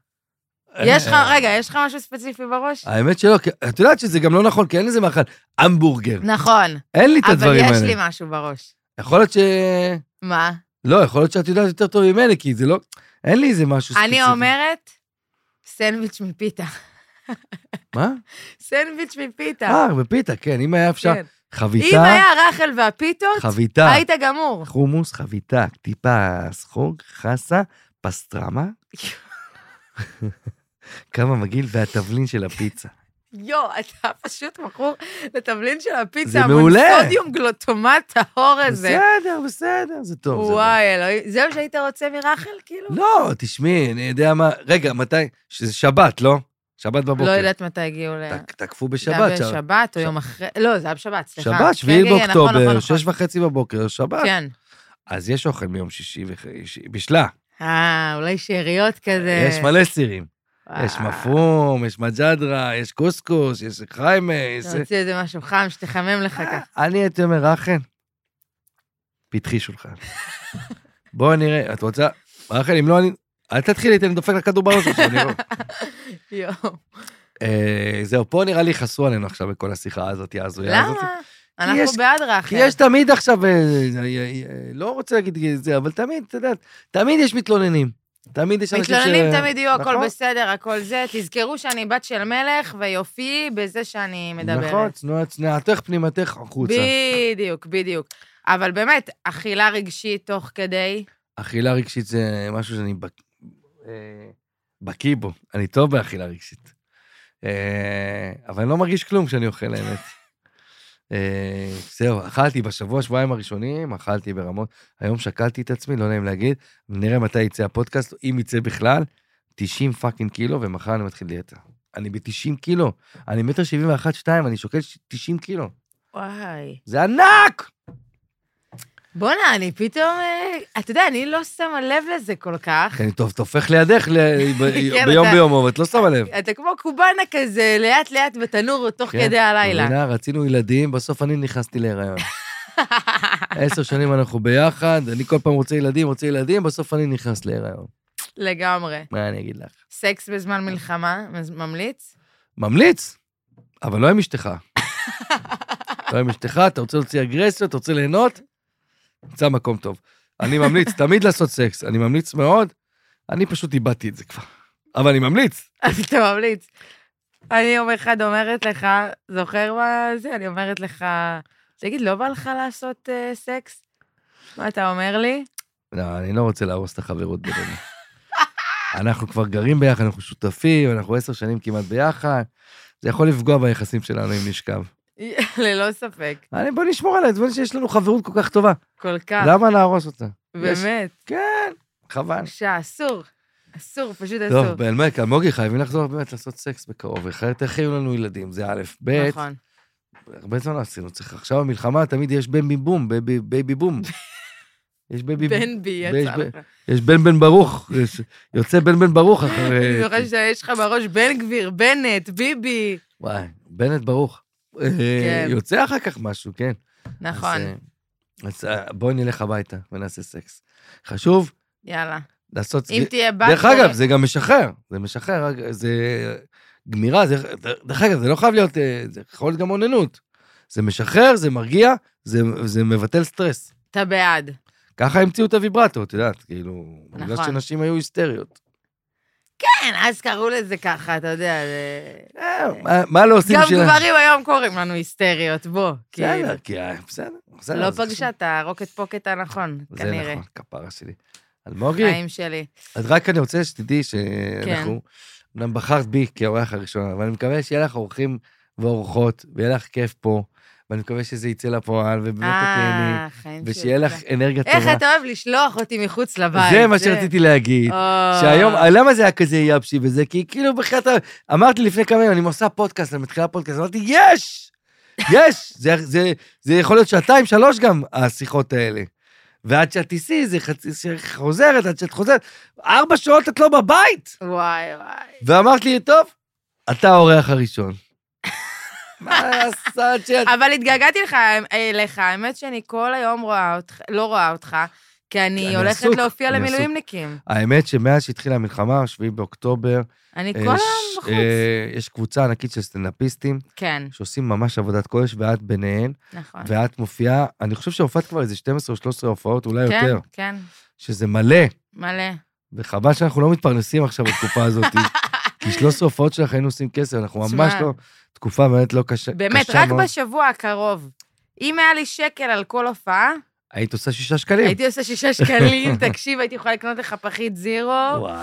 Speaker 2: אה, יש לך,
Speaker 3: אה.
Speaker 2: רגע, יש לך משהו ספציפי בראש?
Speaker 3: האמת שלא, כי- את יודעת שזה גם לא נכון, כי אין לזה מאכל. המבורגר.
Speaker 2: נכון,
Speaker 3: אין לי את
Speaker 2: אבל
Speaker 3: הדברים
Speaker 2: יש לי
Speaker 3: האלה.
Speaker 2: משהו בראש.
Speaker 3: יכול להיות ש...
Speaker 2: מה?
Speaker 3: לא, יכול להיות שאת יודעת יותר טוב ממני, כי זה לא... אין לי איזה משהו ספציפי.
Speaker 2: אני אומרת, סנדוויץ' מפיתה. <laughs>
Speaker 3: מה?
Speaker 2: סנדוויץ' מפיתה.
Speaker 3: אה, בפיתה, כן, אם היה אפשר.
Speaker 2: כן. אם
Speaker 3: חביתה,
Speaker 2: היה רחל והפיתות,
Speaker 3: חביתה,
Speaker 2: היית גמור.
Speaker 3: חומוס, חביתה, טיפה סחוג, חסה, פסטרמה. כמה מגעיל, והתבלין
Speaker 2: <laughs>
Speaker 3: של הפיצה.
Speaker 2: יואו, אתה פשוט מכור לתבלין של הפיצה.
Speaker 3: זה מעולה.
Speaker 2: המונסודיום גלוטומט טהור הזה.
Speaker 3: בסדר, בסדר, זה טוב. זה
Speaker 2: וואי, אלוהים. זה מה שהיית רוצה מרחל, כאילו?
Speaker 3: לא. לא, תשמעי, אני יודע מה... רגע, מתי? שזה שבת, לא? שבת בבוקר.
Speaker 2: לא יודעת מתי הגיעו ל...
Speaker 3: ת- תקפו
Speaker 2: זה היה
Speaker 3: בשבת. ש-
Speaker 2: בשבת או
Speaker 3: ש-
Speaker 2: יום אחרי... לא, זה היה בשבת, סליחה.
Speaker 3: שבת, שביעי
Speaker 2: כן, כן, כן, נכון, נכון,
Speaker 3: באוקטובר,
Speaker 2: נכון.
Speaker 3: שש וחצי בבוקר, שבת.
Speaker 2: כן.
Speaker 3: אז יש אוכל מיום שישי, וח- ש- בשלה.
Speaker 2: אה, אולי שאריות כזה.
Speaker 3: יש מלא סירים.
Speaker 2: וואו.
Speaker 3: יש מפרום, יש מג'דרה, יש קוסקוס, יש חיימה, יש...
Speaker 2: אתה רוצה איזה משהו חם שתחמם
Speaker 3: אה.
Speaker 2: לך ככה. <laughs>
Speaker 3: אני הייתי אומר, רחל,
Speaker 2: <laughs>
Speaker 3: פתחי שולחן. בואי נראה, את רוצה... רחל, אם לא, אני... אל תתחילי, איתי, אני דופק לך כדור בראש עכשיו, אני לא...
Speaker 2: <laughs> יואו.
Speaker 3: אה, זהו, פה נראה לי חסרו עלינו עכשיו בכל השיחה הזאת, ההזויה הזאת.
Speaker 2: למה?
Speaker 3: כי
Speaker 2: אנחנו
Speaker 3: יש-
Speaker 2: בעד רחל.
Speaker 3: כי יש תמיד עכשיו, אה, אה, אה, אה, לא רוצה להגיד את זה, אבל תמיד, את יודעת, תמיד יש מתלוננים. תמיד יש אנשים ש...
Speaker 2: מתלוננים תמיד יהיו, הכל
Speaker 3: נכון.
Speaker 2: בסדר, הכל זה. תזכרו שאני בת של מלך, ויופי בזה שאני מדברת.
Speaker 3: נכון, צנועה צנועתך פנימתך החוצה.
Speaker 2: בדיוק, בדיוק. אבל באמת, אכילה רגשית תוך כדי,
Speaker 3: אכילה רגשית זה משהו שאני בק- אה, בקיא בו, אני טוב באכילה רגשית. אה, אבל אני לא מרגיש כלום כשאני אוכל, האמת. אה, זהו, אכלתי בשבוע, שבועיים הראשונים, אכלתי ברמות. היום שקלתי את עצמי, לא נעים להגיד, נראה מתי יצא הפודקאסט, אם יצא בכלל, 90 פאקינג קילו, ומחר אני מתחיל דיאטה. אני ב-90 קילו, אני מטר 71, 2, אני שוקל 90 קילו.
Speaker 2: וואי.
Speaker 3: זה ענק!
Speaker 2: בואנה, אני פתאום... אה, אתה יודע, אני לא שמה לב לזה כל כך.
Speaker 3: כי אני כן, טוב, תופך לידך ל- ב-
Speaker 2: <laughs> כן,
Speaker 3: ביום
Speaker 2: אתה-
Speaker 3: ביומו, ואת לא שמה
Speaker 2: <laughs>
Speaker 3: לב.
Speaker 2: אתה כמו קובאנה כזה, לאט-לאט בתנור תוך
Speaker 3: כן,
Speaker 2: כדי הלילה.
Speaker 3: מבינה, רצינו ילדים, בסוף אני נכנסתי
Speaker 2: <laughs>
Speaker 3: להיריון. עשר שנים אנחנו ביחד, אני כל פעם רוצה ילדים, רוצה ילדים, בסוף אני נכנס להיריון.
Speaker 2: לגמרי.
Speaker 3: מה אני אגיד לך?
Speaker 2: סקס בזמן
Speaker 3: כן.
Speaker 2: מלחמה, מז- ממליץ? <laughs>
Speaker 3: ממליץ, אבל לא עם אשתך. לא עם אשתך, אתה רוצה להוציא אגרסיות, אתה רוצה ליהנות, נמצא מקום טוב. אני ממליץ, תמיד לעשות סקס, אני ממליץ מאוד, אני פשוט איבדתי את זה כבר. אבל אני ממליץ.
Speaker 2: אז אתה ממליץ. אני יום אחד אומרת לך, זוכר מה זה? אני אומרת לך, תגיד, לא בא לך לעשות אה, סקס? מה אתה אומר לי? <laughs>
Speaker 3: לא, אני לא רוצה להרוס את החברות בינינו. אנחנו כבר גרים ביחד, אנחנו שותפים, אנחנו עשר שנים כמעט ביחד. זה יכול לפגוע ביחסים שלנו אם נשכב.
Speaker 2: ללא ספק,
Speaker 3: אני, בוא נשמור על העצבן שיש לנו חברות כל כך טובה.
Speaker 2: כל כך,
Speaker 3: למה להרוס אותה? יש-
Speaker 2: באמת.
Speaker 3: כן, חבל.
Speaker 2: שאסור, אסור, פשוט
Speaker 3: טוב,
Speaker 2: אסור.
Speaker 3: באלמק, אלמוגי, חייבים לחזור באמת לעשות סקס בקרוב, אחרת איך יהיו לנו ילדים? זה א', ב',
Speaker 2: נכון.
Speaker 3: הרבה זמן לא עשינו, צריך עכשיו במלחמה, תמיד יש בן בום, בייבי בייבי
Speaker 2: <laughs>
Speaker 3: בום. יש בייבי בום.
Speaker 2: בן בי
Speaker 3: ויש
Speaker 2: יצא
Speaker 3: ב-
Speaker 2: לך.
Speaker 3: יש בן בן ברוך, יש- יוצא בן בן ברוך אחרי...
Speaker 2: אני זוכרת שיש לך בראש בן גביר, בנט, ביבי.
Speaker 3: וואי, בנט ברוך. אה,
Speaker 2: כן.
Speaker 3: יוצא אחר כך משהו, כן.
Speaker 2: נכון,
Speaker 3: אז, אה, אז אה, בואי נלך הביתה ונעשה סקס. חשוב
Speaker 2: יאללה.
Speaker 3: לעשות...
Speaker 2: אם תהיה בת...
Speaker 3: דרך
Speaker 2: קורא-
Speaker 3: אגב, זה גם משחרר. זה משחרר, רק- זה גמירה, זה... דרך אגב, זה לא חייב להיות... אה, זה יכול להיות גם אוננות. זה משחרר, זה מרגיע, זה, זה מבטל סטרס.
Speaker 2: אתה בעד.
Speaker 3: ככה המציאו את הוויברטו, את יודעת, כאילו... נכון. בגלל
Speaker 2: נכון.
Speaker 3: שנשים היו היסטריות.
Speaker 2: כן, אז קראו לזה ככה, אתה יודע, זה...
Speaker 3: אה, מה, מה לא עושים
Speaker 2: כן. גם
Speaker 3: בשביל-
Speaker 2: גברים היום קוראים לנו היסטריות, בוא. כאילו.
Speaker 3: בסדר, כי... ה- בסדר, בסדר.
Speaker 2: לא
Speaker 3: זה חשוב.
Speaker 2: פגשה את הרוקט פוקט הנכון,
Speaker 3: זה
Speaker 2: כנראה.
Speaker 3: נכון, כפרה שלי. אלמוגי,
Speaker 2: חיים כן. שלי.
Speaker 3: אז רק אני רוצה שתדעי שאנחנו, אמנם בחרת בי כאורח הראשון, אבל אני מקווה שיהיה לך אורחים ואורחות, ויהיה לך כיף פה, ואני מקווה שזה יצא לפועל, ובאמת את תהני,
Speaker 2: אה, חיים שלי.
Speaker 3: לא ושיהיה לך אנרגיה
Speaker 2: איך
Speaker 3: טובה.
Speaker 2: אתה אוהב לשלוח אותי מחוץ לבית.
Speaker 3: זה מה שרציתי להגיד.
Speaker 2: אה.
Speaker 3: שהיום, למה זה היה כזה יבשי וזה? כי כאילו בחייאת, ה- אמרתי לפני כמה ימים, אני עושה פודקאסט, אני מתחילה פודקאסט, אמרתי, יש! יש! <laughs> זה, זה, זה יכול להיות שעתיים, שלוש גם, השיחות האלה. ועד שאת תיסעי, זה חצי, ש- חוזרת, עד שאת חוזרת, ארבע שעות את לא בבית!
Speaker 2: וואי, וואי.
Speaker 3: ואמרת לי, טוב, אתה האורח הראשון. <laughs> מה לעשות שאת...
Speaker 2: אבל התגעגעתי לך, אליך, האמת שאני כל היום רואה אותך, לא רואה אותך. כי אני
Speaker 3: אני
Speaker 2: הולכת
Speaker 3: עסוק,
Speaker 2: להופיע
Speaker 3: אני
Speaker 2: למילואימניקים.
Speaker 3: האמת שמאז שהתחילה המלחמה, 7 באוקטובר,
Speaker 2: אני כל
Speaker 3: אה,
Speaker 2: היום
Speaker 3: ש-
Speaker 2: בחוץ.
Speaker 3: אה, יש קבוצה ענקית של סטנדאפיסטים
Speaker 2: כן,
Speaker 3: שעושים ממש עבודת קודש, ואת ביניהן,
Speaker 2: נכון.
Speaker 3: ואת מופיעה, אני חושב שהופעת כבר איזה 12 או 13 הופעות, אולי
Speaker 2: כן,
Speaker 3: יותר,
Speaker 2: כן,
Speaker 3: שזה מלא,
Speaker 2: מלא.
Speaker 3: וחבל שאנחנו לא מתפרנסים עכשיו
Speaker 2: <laughs>
Speaker 3: בתקופה הזאת, כי 13 הופעות שלך היינו עושים כסף, אנחנו
Speaker 2: תשמע,
Speaker 3: ממש לא, תקופה באמת לא קשה,
Speaker 2: באמת,
Speaker 3: קשה
Speaker 2: רק
Speaker 3: מאוד.
Speaker 2: בשבוע הקרוב. אם היה לי שקל על כל הופעה,
Speaker 3: היית עושה 6 שקלים.
Speaker 2: הייתי עושה שישה שקלים, <laughs> תקשיב, הייתי יכולה לקנות לך פחית זירו.
Speaker 3: וואי.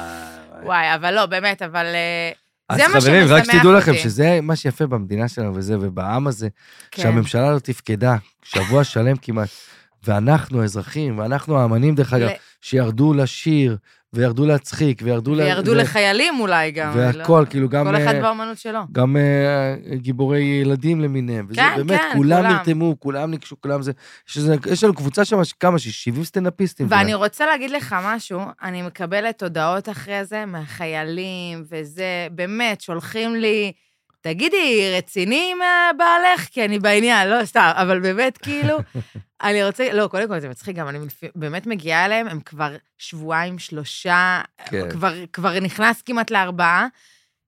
Speaker 2: וואי, אבל לא, באמת, אבל... אה,
Speaker 3: אז
Speaker 2: זה מה
Speaker 3: חברים, רק
Speaker 2: שמשמח
Speaker 3: שתדעו לכם
Speaker 2: אותי.
Speaker 3: שזה מה שיפה במדינה שלנו וזה, ובעם הזה,
Speaker 2: כן.
Speaker 3: שהממשלה לא תפקדה שבוע שלם כמעט, ואנחנו האזרחים, ואנחנו האמנים דרך אגב,
Speaker 2: ל-
Speaker 3: שירדו לשיר, וירדו להצחיק, וירדו ל...
Speaker 2: וירדו
Speaker 3: ל-
Speaker 2: לחיילים אולי גם. אני לא-
Speaker 3: והכל, כאילו גם...
Speaker 2: כל אחד
Speaker 3: אה,
Speaker 2: באמנות שלו.
Speaker 3: גם אה, גיבורי ילדים למיניהם, וזה
Speaker 2: כן,
Speaker 3: באמת,
Speaker 2: כן,
Speaker 3: כולם
Speaker 2: כולם.
Speaker 3: נרתמו, כולם ניגשו, כולם זה. יש איזה- יש לנו קבוצה שם, כמה, ש- 70 סטנדאפיסטים.
Speaker 2: ואני רוצה להגיד לך משהו, אני מקבלת הודעות אחרי זה מהחיילים וזה, באמת, שולחים לי, תגידי, רציני עם אה, בעלך? כי אני בעניין, לא, סתם, אבל באמת,
Speaker 3: <laughs>
Speaker 2: כאילו, אני רוצה, לא, קודם כל זה מצחיק, גם אני מפ- באמת מגיעה אליהם, הם כבר שבועיים, שלושה,
Speaker 3: כן.
Speaker 2: כבר, כבר נכנס כמעט לארבעה,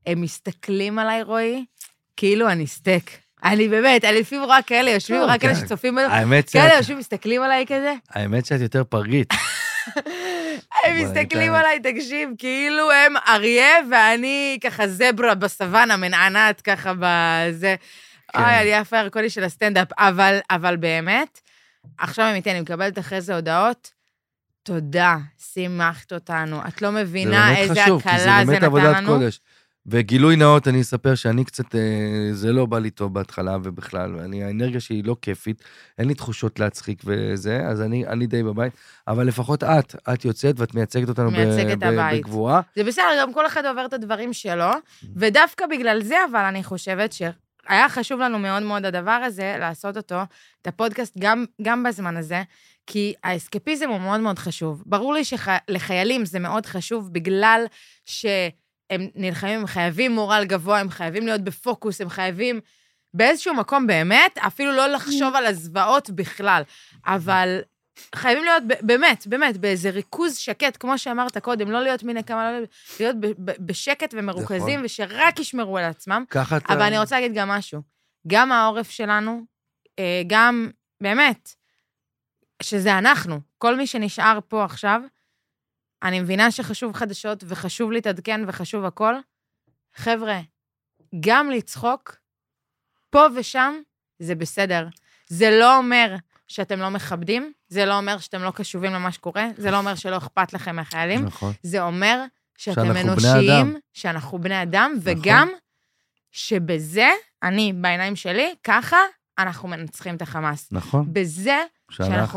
Speaker 2: הם מסתכלים עליי, רועי, כאילו אני סטייק. אני באמת, אני לפעמים רואה כאלה יושבים,
Speaker 3: טוב,
Speaker 2: רק כאלה
Speaker 3: כן.
Speaker 2: שצופים בנו,
Speaker 3: האמת שאת-
Speaker 2: כאלה יושבים, מסתכלים עליי כזה.
Speaker 3: האמת שאת יותר פרגית.
Speaker 2: הם
Speaker 3: אני
Speaker 2: מסתכלים
Speaker 3: את
Speaker 2: עליי, תקשיב, כאילו הם אריה ואני ככה זברה בסוואנה, מנענעת ככה בזה.
Speaker 3: כן.
Speaker 2: אוי, אני יפה ירקולי של הסטנדאפ, אבל, אבל באמת, עכשיו אמיתי, אני מקבלת אחרי זה הודעות, תודה, שימחת אותנו. את לא מבינה איזה הקלה זה
Speaker 3: כי זה באמת
Speaker 2: נתן
Speaker 3: עבודת
Speaker 2: לנו.
Speaker 3: קודש. וגילוי נאות, אני אספר שאני קצת, אה, זה לא בא לי טוב בהתחלה ובכלל, ואני, האנרגיה שלי היא לא כיפית, אין לי תחושות להצחיק וזה, אז אני, אני די בבית, אבל לפחות את, את יוצאת ואת מייצגת אותנו ב-
Speaker 2: מייצגת
Speaker 3: ב-
Speaker 2: הבית.
Speaker 3: בגבורה.
Speaker 2: זה בסדר, גם כל אחד עובר את הדברים שלו, ודווקא בגלל זה, אבל אני חושבת שהיה חשוב לנו מאוד מאוד הדבר הזה, לעשות אותו, את הפודקאסט, גם, גם בזמן הזה, כי האסקפיזם הוא מאוד מאוד חשוב. ברור לי שלחיילים זה מאוד חשוב, בגלל שהם נלחמים, הם חייבים מורל גבוה, הם חייבים להיות בפוקוס, הם חייבים באיזשהו מקום באמת, אפילו לא לחשוב על הזוועות בכלל. אבל חייבים להיות, ב- באמת, באמת, באיזה ריכוז שקט, כמו שאמרת קודם, לא להיות מיני כמה, לא להיות- להיות ב- ב- בשקט ומרוכזים,
Speaker 3: נכון.
Speaker 2: ושרק ישמרו על עצמם.
Speaker 3: ככה אתה...
Speaker 2: אבל אני רוצה להגיד גם משהו. גם העורף שלנו, אה, גם, באמת, שזה אנחנו, כל מי שנשאר פה עכשיו, אני מבינה שחשוב חדשות, וחשוב להתעדכן, וחשוב הכל. חבר'ה, גם לצחוק, פה ושם, זה בסדר. זה לא אומר שאתם לא מכבדים, זה לא אומר שאתם לא קשובים למה שקורה, זה לא אומר שלא אכפת לכם מהחיילים,
Speaker 3: נכון.
Speaker 2: זה אומר שאתם
Speaker 3: שאנחנו בני אדם.
Speaker 2: אנושיים, שאנחנו בני אדם,
Speaker 3: נכון.
Speaker 2: וגם שבזה, אני, בעיניים שלי, ככה אנחנו מנצחים את החמאס.
Speaker 3: נכון.
Speaker 2: בזה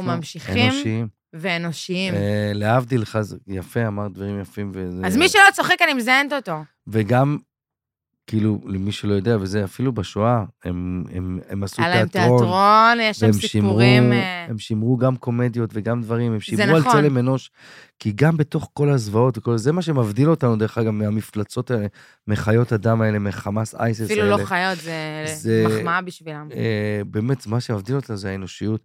Speaker 2: ממשיכים.
Speaker 3: אנושיים.
Speaker 2: ואנושיים.
Speaker 3: אה, להבדיל לך, זה יפה, אמרת דברים יפים. וזה-
Speaker 2: אז מי שלא צוחק, אני מזיינת אותו.
Speaker 3: וגם, כאילו, למי שלא יודע, וזה אפילו בשואה, הם, הם, הם עשו
Speaker 2: היה להם
Speaker 3: תיאטרון.
Speaker 2: תיאטרון, יש שם
Speaker 3: והם שימרו,
Speaker 2: סיפורים... אה,
Speaker 3: הם שימרו גם קומדיות וגם דברים, הם שימרו על
Speaker 2: נכון.
Speaker 3: צלם אנוש, כי גם בתוך כל הזוועות וכל זה, זה מה שמבדיל אותנו, דרך אגב, מהמפלצות האלה, מחיות הדם האלה, מחמאס אייסס האלה.
Speaker 2: אפילו לא חיות, זה
Speaker 3: זה-
Speaker 2: מחמאה בשבילם.
Speaker 3: אה, באמת, מה שמבדיל אותנו זה האנושיות,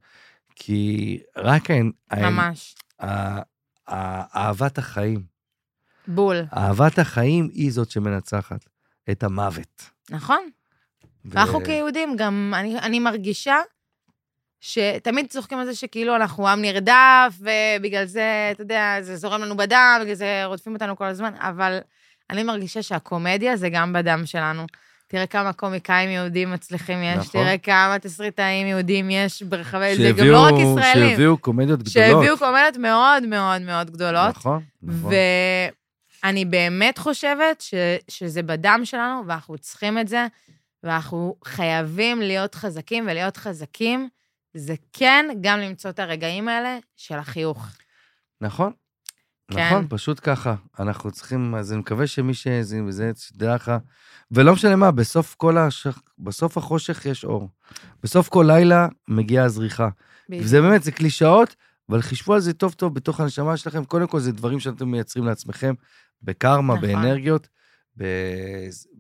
Speaker 3: כי רק האנ... האנ-
Speaker 2: ממש.
Speaker 3: ה- ה- אהבת החיים.
Speaker 2: בול,
Speaker 3: אהבת החיים היא זאת שמנצחת את המוות.
Speaker 2: נכון?
Speaker 3: ו-
Speaker 2: ואנחנו כיהודים, גם אני, אני מרגישה שתמיד צוחקים על זה שכאילו אנחנו עם נרדף, ובגלל זה, אתה יודע, זה זורם לנו בדם, בגלל זה רודפים אותנו כל הזמן, אבל אני מרגישה שהקומדיה זה גם בדם שלנו. תראה כמה קומיקאים יהודים מצליחים יש,
Speaker 3: נכון.
Speaker 2: נכון. תראה כמה תסריטאים יהודים יש ברחבי... זה גם
Speaker 3: שהביאו-
Speaker 2: לא רק ישראלים.
Speaker 3: שהביאו קומדיות גדולות.
Speaker 2: שהביאו קומדיות מאוד מאוד מאוד גדולות.
Speaker 3: נכון, נכון.
Speaker 2: ואני באמת חושבת ש, שזה בדם שלנו, ואנחנו צריכים את זה, ואנחנו חייבים להיות חזקים, ולהיות חזקים זה כן גם למצוא את הרגעים האלה של החיוך.
Speaker 3: נכון.
Speaker 2: כן.
Speaker 3: נכון, פשוט ככה. אנחנו צריכים, אז אני מקווה שמי שהאזין וזה, שתדע לך. ולא משנה מה, בסוף כל השח... בסוף החושך יש אור. בסוף כל לילה מגיעה הזריחה.
Speaker 2: בדיוק.
Speaker 3: וזה באמת, זה קלישאות, אבל חשבו על זה טוב טוב בתוך הנשמה שלכם. קודם כל, זה דברים שאתם מייצרים לעצמכם, בקרמה,
Speaker 2: נכון.
Speaker 3: באנרגיות, ב...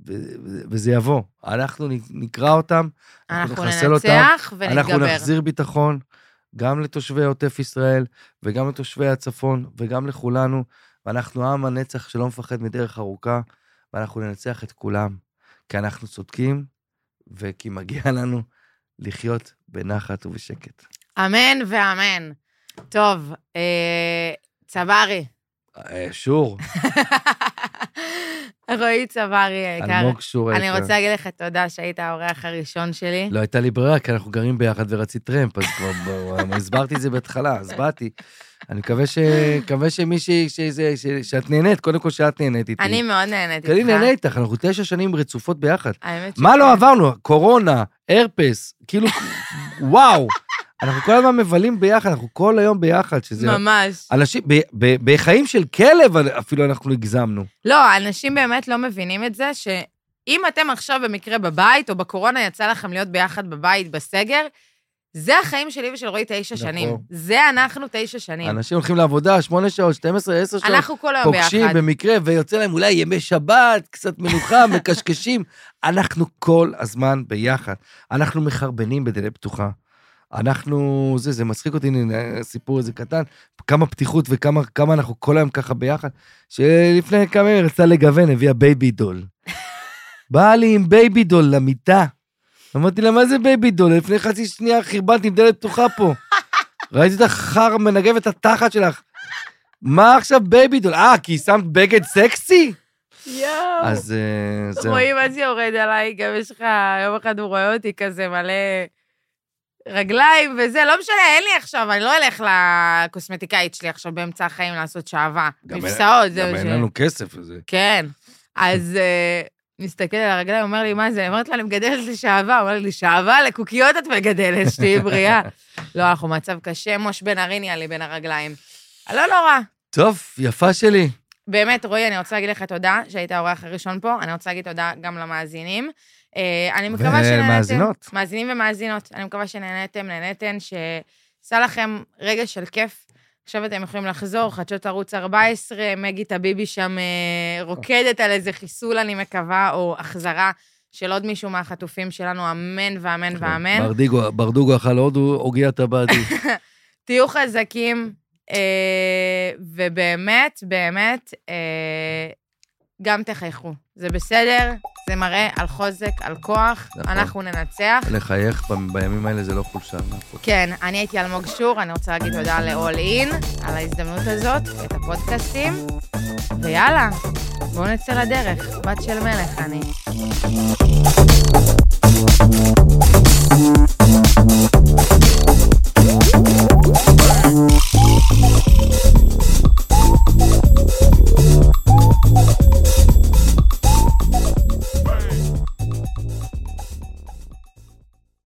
Speaker 3: ו... ו- וזה יבוא. אנחנו נ- נקרא אותם,
Speaker 2: אנחנו
Speaker 3: נחסל אותם,
Speaker 2: ננצח
Speaker 3: אנחנו
Speaker 2: ונתגבר.
Speaker 3: נחזיר ביטחון, גם לתושבי עוטף ישראל, וגם לתושבי הצפון, וגם לכולנו. ואנחנו עם הנצח שלא מפחד מדרך ארוכה, ואנחנו ננצח את כולם. כי אנחנו צודקים, וכי מגיע לנו לחיות בנחת ובשקט.
Speaker 2: אמן ואמן. טוב, אה, צברי.
Speaker 3: אה, שור,
Speaker 2: <laughs> רועי צברי היקר.
Speaker 3: אלמוג שור
Speaker 2: כן. אני
Speaker 3: היקר.
Speaker 2: רוצה להגיד לך תודה שהיית האורח הראשון שלי.
Speaker 3: לא הייתה לי ברירה, כי אנחנו גרים ביחד ורצית טרמפ, אז כבר בוא, הסברתי את זה בהתחלה, אז באתי. אני מקווה ש... מקווה שמישהי... שזה- ש- שאת נהנית, קודם כל שאת נהנית איתי.
Speaker 2: אני מאוד נהנית
Speaker 3: כי אני
Speaker 2: איתך.
Speaker 3: נהנה איתך, אנחנו תשע שנים רצופות ביחד.
Speaker 2: האמת
Speaker 3: מה
Speaker 2: שכן.
Speaker 3: לא עברנו? קורונה, הרפס, כאילו, וואו. אנחנו כל הזמן מבלים ביחד, אנחנו כל היום ביחד, שזה...
Speaker 2: ממש.
Speaker 3: אנשים, ב- ב- בחיים של כלב אפילו אנחנו הגזמנו.
Speaker 2: לא, אנשים באמת לא מבינים את זה, שאם אתם עכשיו במקרה בבית, או בקורונה יצא לכם להיות ביחד בבית בסגר, זה החיים שלי ושל רועי תשע
Speaker 3: נכון.
Speaker 2: שנים. זה אנחנו תשע שנים.
Speaker 3: אנשים הולכים לעבודה, שמונה שעות, 12, 10 שעות.
Speaker 2: אנחנו כל היום ביחד.
Speaker 3: פוגשים במקרה, ויוצא להם אולי ימי שבת, קצת מנוחה, מקשקשים. אנחנו כל הזמן ביחד. אנחנו מחרבנים בדלת פתוחה. אנחנו, זה, זה מצחיק אותי, הנה, סיפור איזה קטן, כמה פתיחות וכמה כמה אנחנו כל היום ככה ביחד, שלפני כמה ימים רצה לגוון, הביאה בייבי דול. באה לי עם בייבי דול למיטה. אמרתי לה, מה זה בייבי דול? לפני חצי שנייה חרבנת עם דלת פתוחה פה. ראיתי אותך חר מנגב את התחת שלך. מה עכשיו בייבי דול? אה, כי שמת בגד סקסי?
Speaker 2: יואו.
Speaker 3: אז אה, זהו.
Speaker 2: רועי, מה שיורד עליי, גם יש לך, יום אחד הוא רואה אותי כזה מלא רגליים וזה, לא משנה, אין לי עכשיו, אני לא אלך לקוסמטיקאית שלי עכשיו באמצע החיים לעשות שעווה.
Speaker 3: גם אין-
Speaker 2: מבשעות, זה
Speaker 3: גם
Speaker 2: מה ש...
Speaker 3: אין לנו כסף לזה.
Speaker 2: כן. אז אה, מסתכל על הרגליים, אומר לי, מה זה? אמרת לה, אני מגדלת לשעווה. אומר לי, שעווה? לקוקיות את מגדלת, שתהיי בריאה. לא, אנחנו במצב קשה, מוש בן ארי נהיה לי בין הרגליים. לא נורא.
Speaker 3: טוב, יפה שלי.
Speaker 2: באמת, רועי, אני רוצה להגיד לך תודה שהיית האורח הראשון פה. אני רוצה להגיד תודה גם למאזינים. אה, אני מקווה שנהנתם.
Speaker 3: ומאזינות.
Speaker 2: מאזינים ומאזינות. אני מקווה שנהנתם, נהנתן, שעשה לכם רגע של כיף. עכשיו אתם יכולים לחזור, חדשות ערוץ 14, מגי טביבי שם אה, רוקדת על איזה חיסול, אני מקווה, או החזרה של עוד מישהו מהחטופים שלנו, אמן ואמן
Speaker 3: כן,
Speaker 2: ואמן.
Speaker 3: ברדיגו, ברדוגו אכל עוד עוגיית <laughs> הבאדי.
Speaker 2: תהיו חזקים, אה, ובאמת, באמת, אה, גם תחייכו. זה בסדר, זה מראה על חוזק, על כוח,
Speaker 3: נכון.
Speaker 2: אנחנו ננצח.
Speaker 3: לחייך ב- בימים האלה זה לא חולשה. מה פה?
Speaker 2: כן, אני הייתי אלמוג שור, אני רוצה להגיד תודה ל-all in על ההזדמנות הזאת, את הפודקאסטים, ויאללה, בואו נצא לדרך, בת של מלך אני.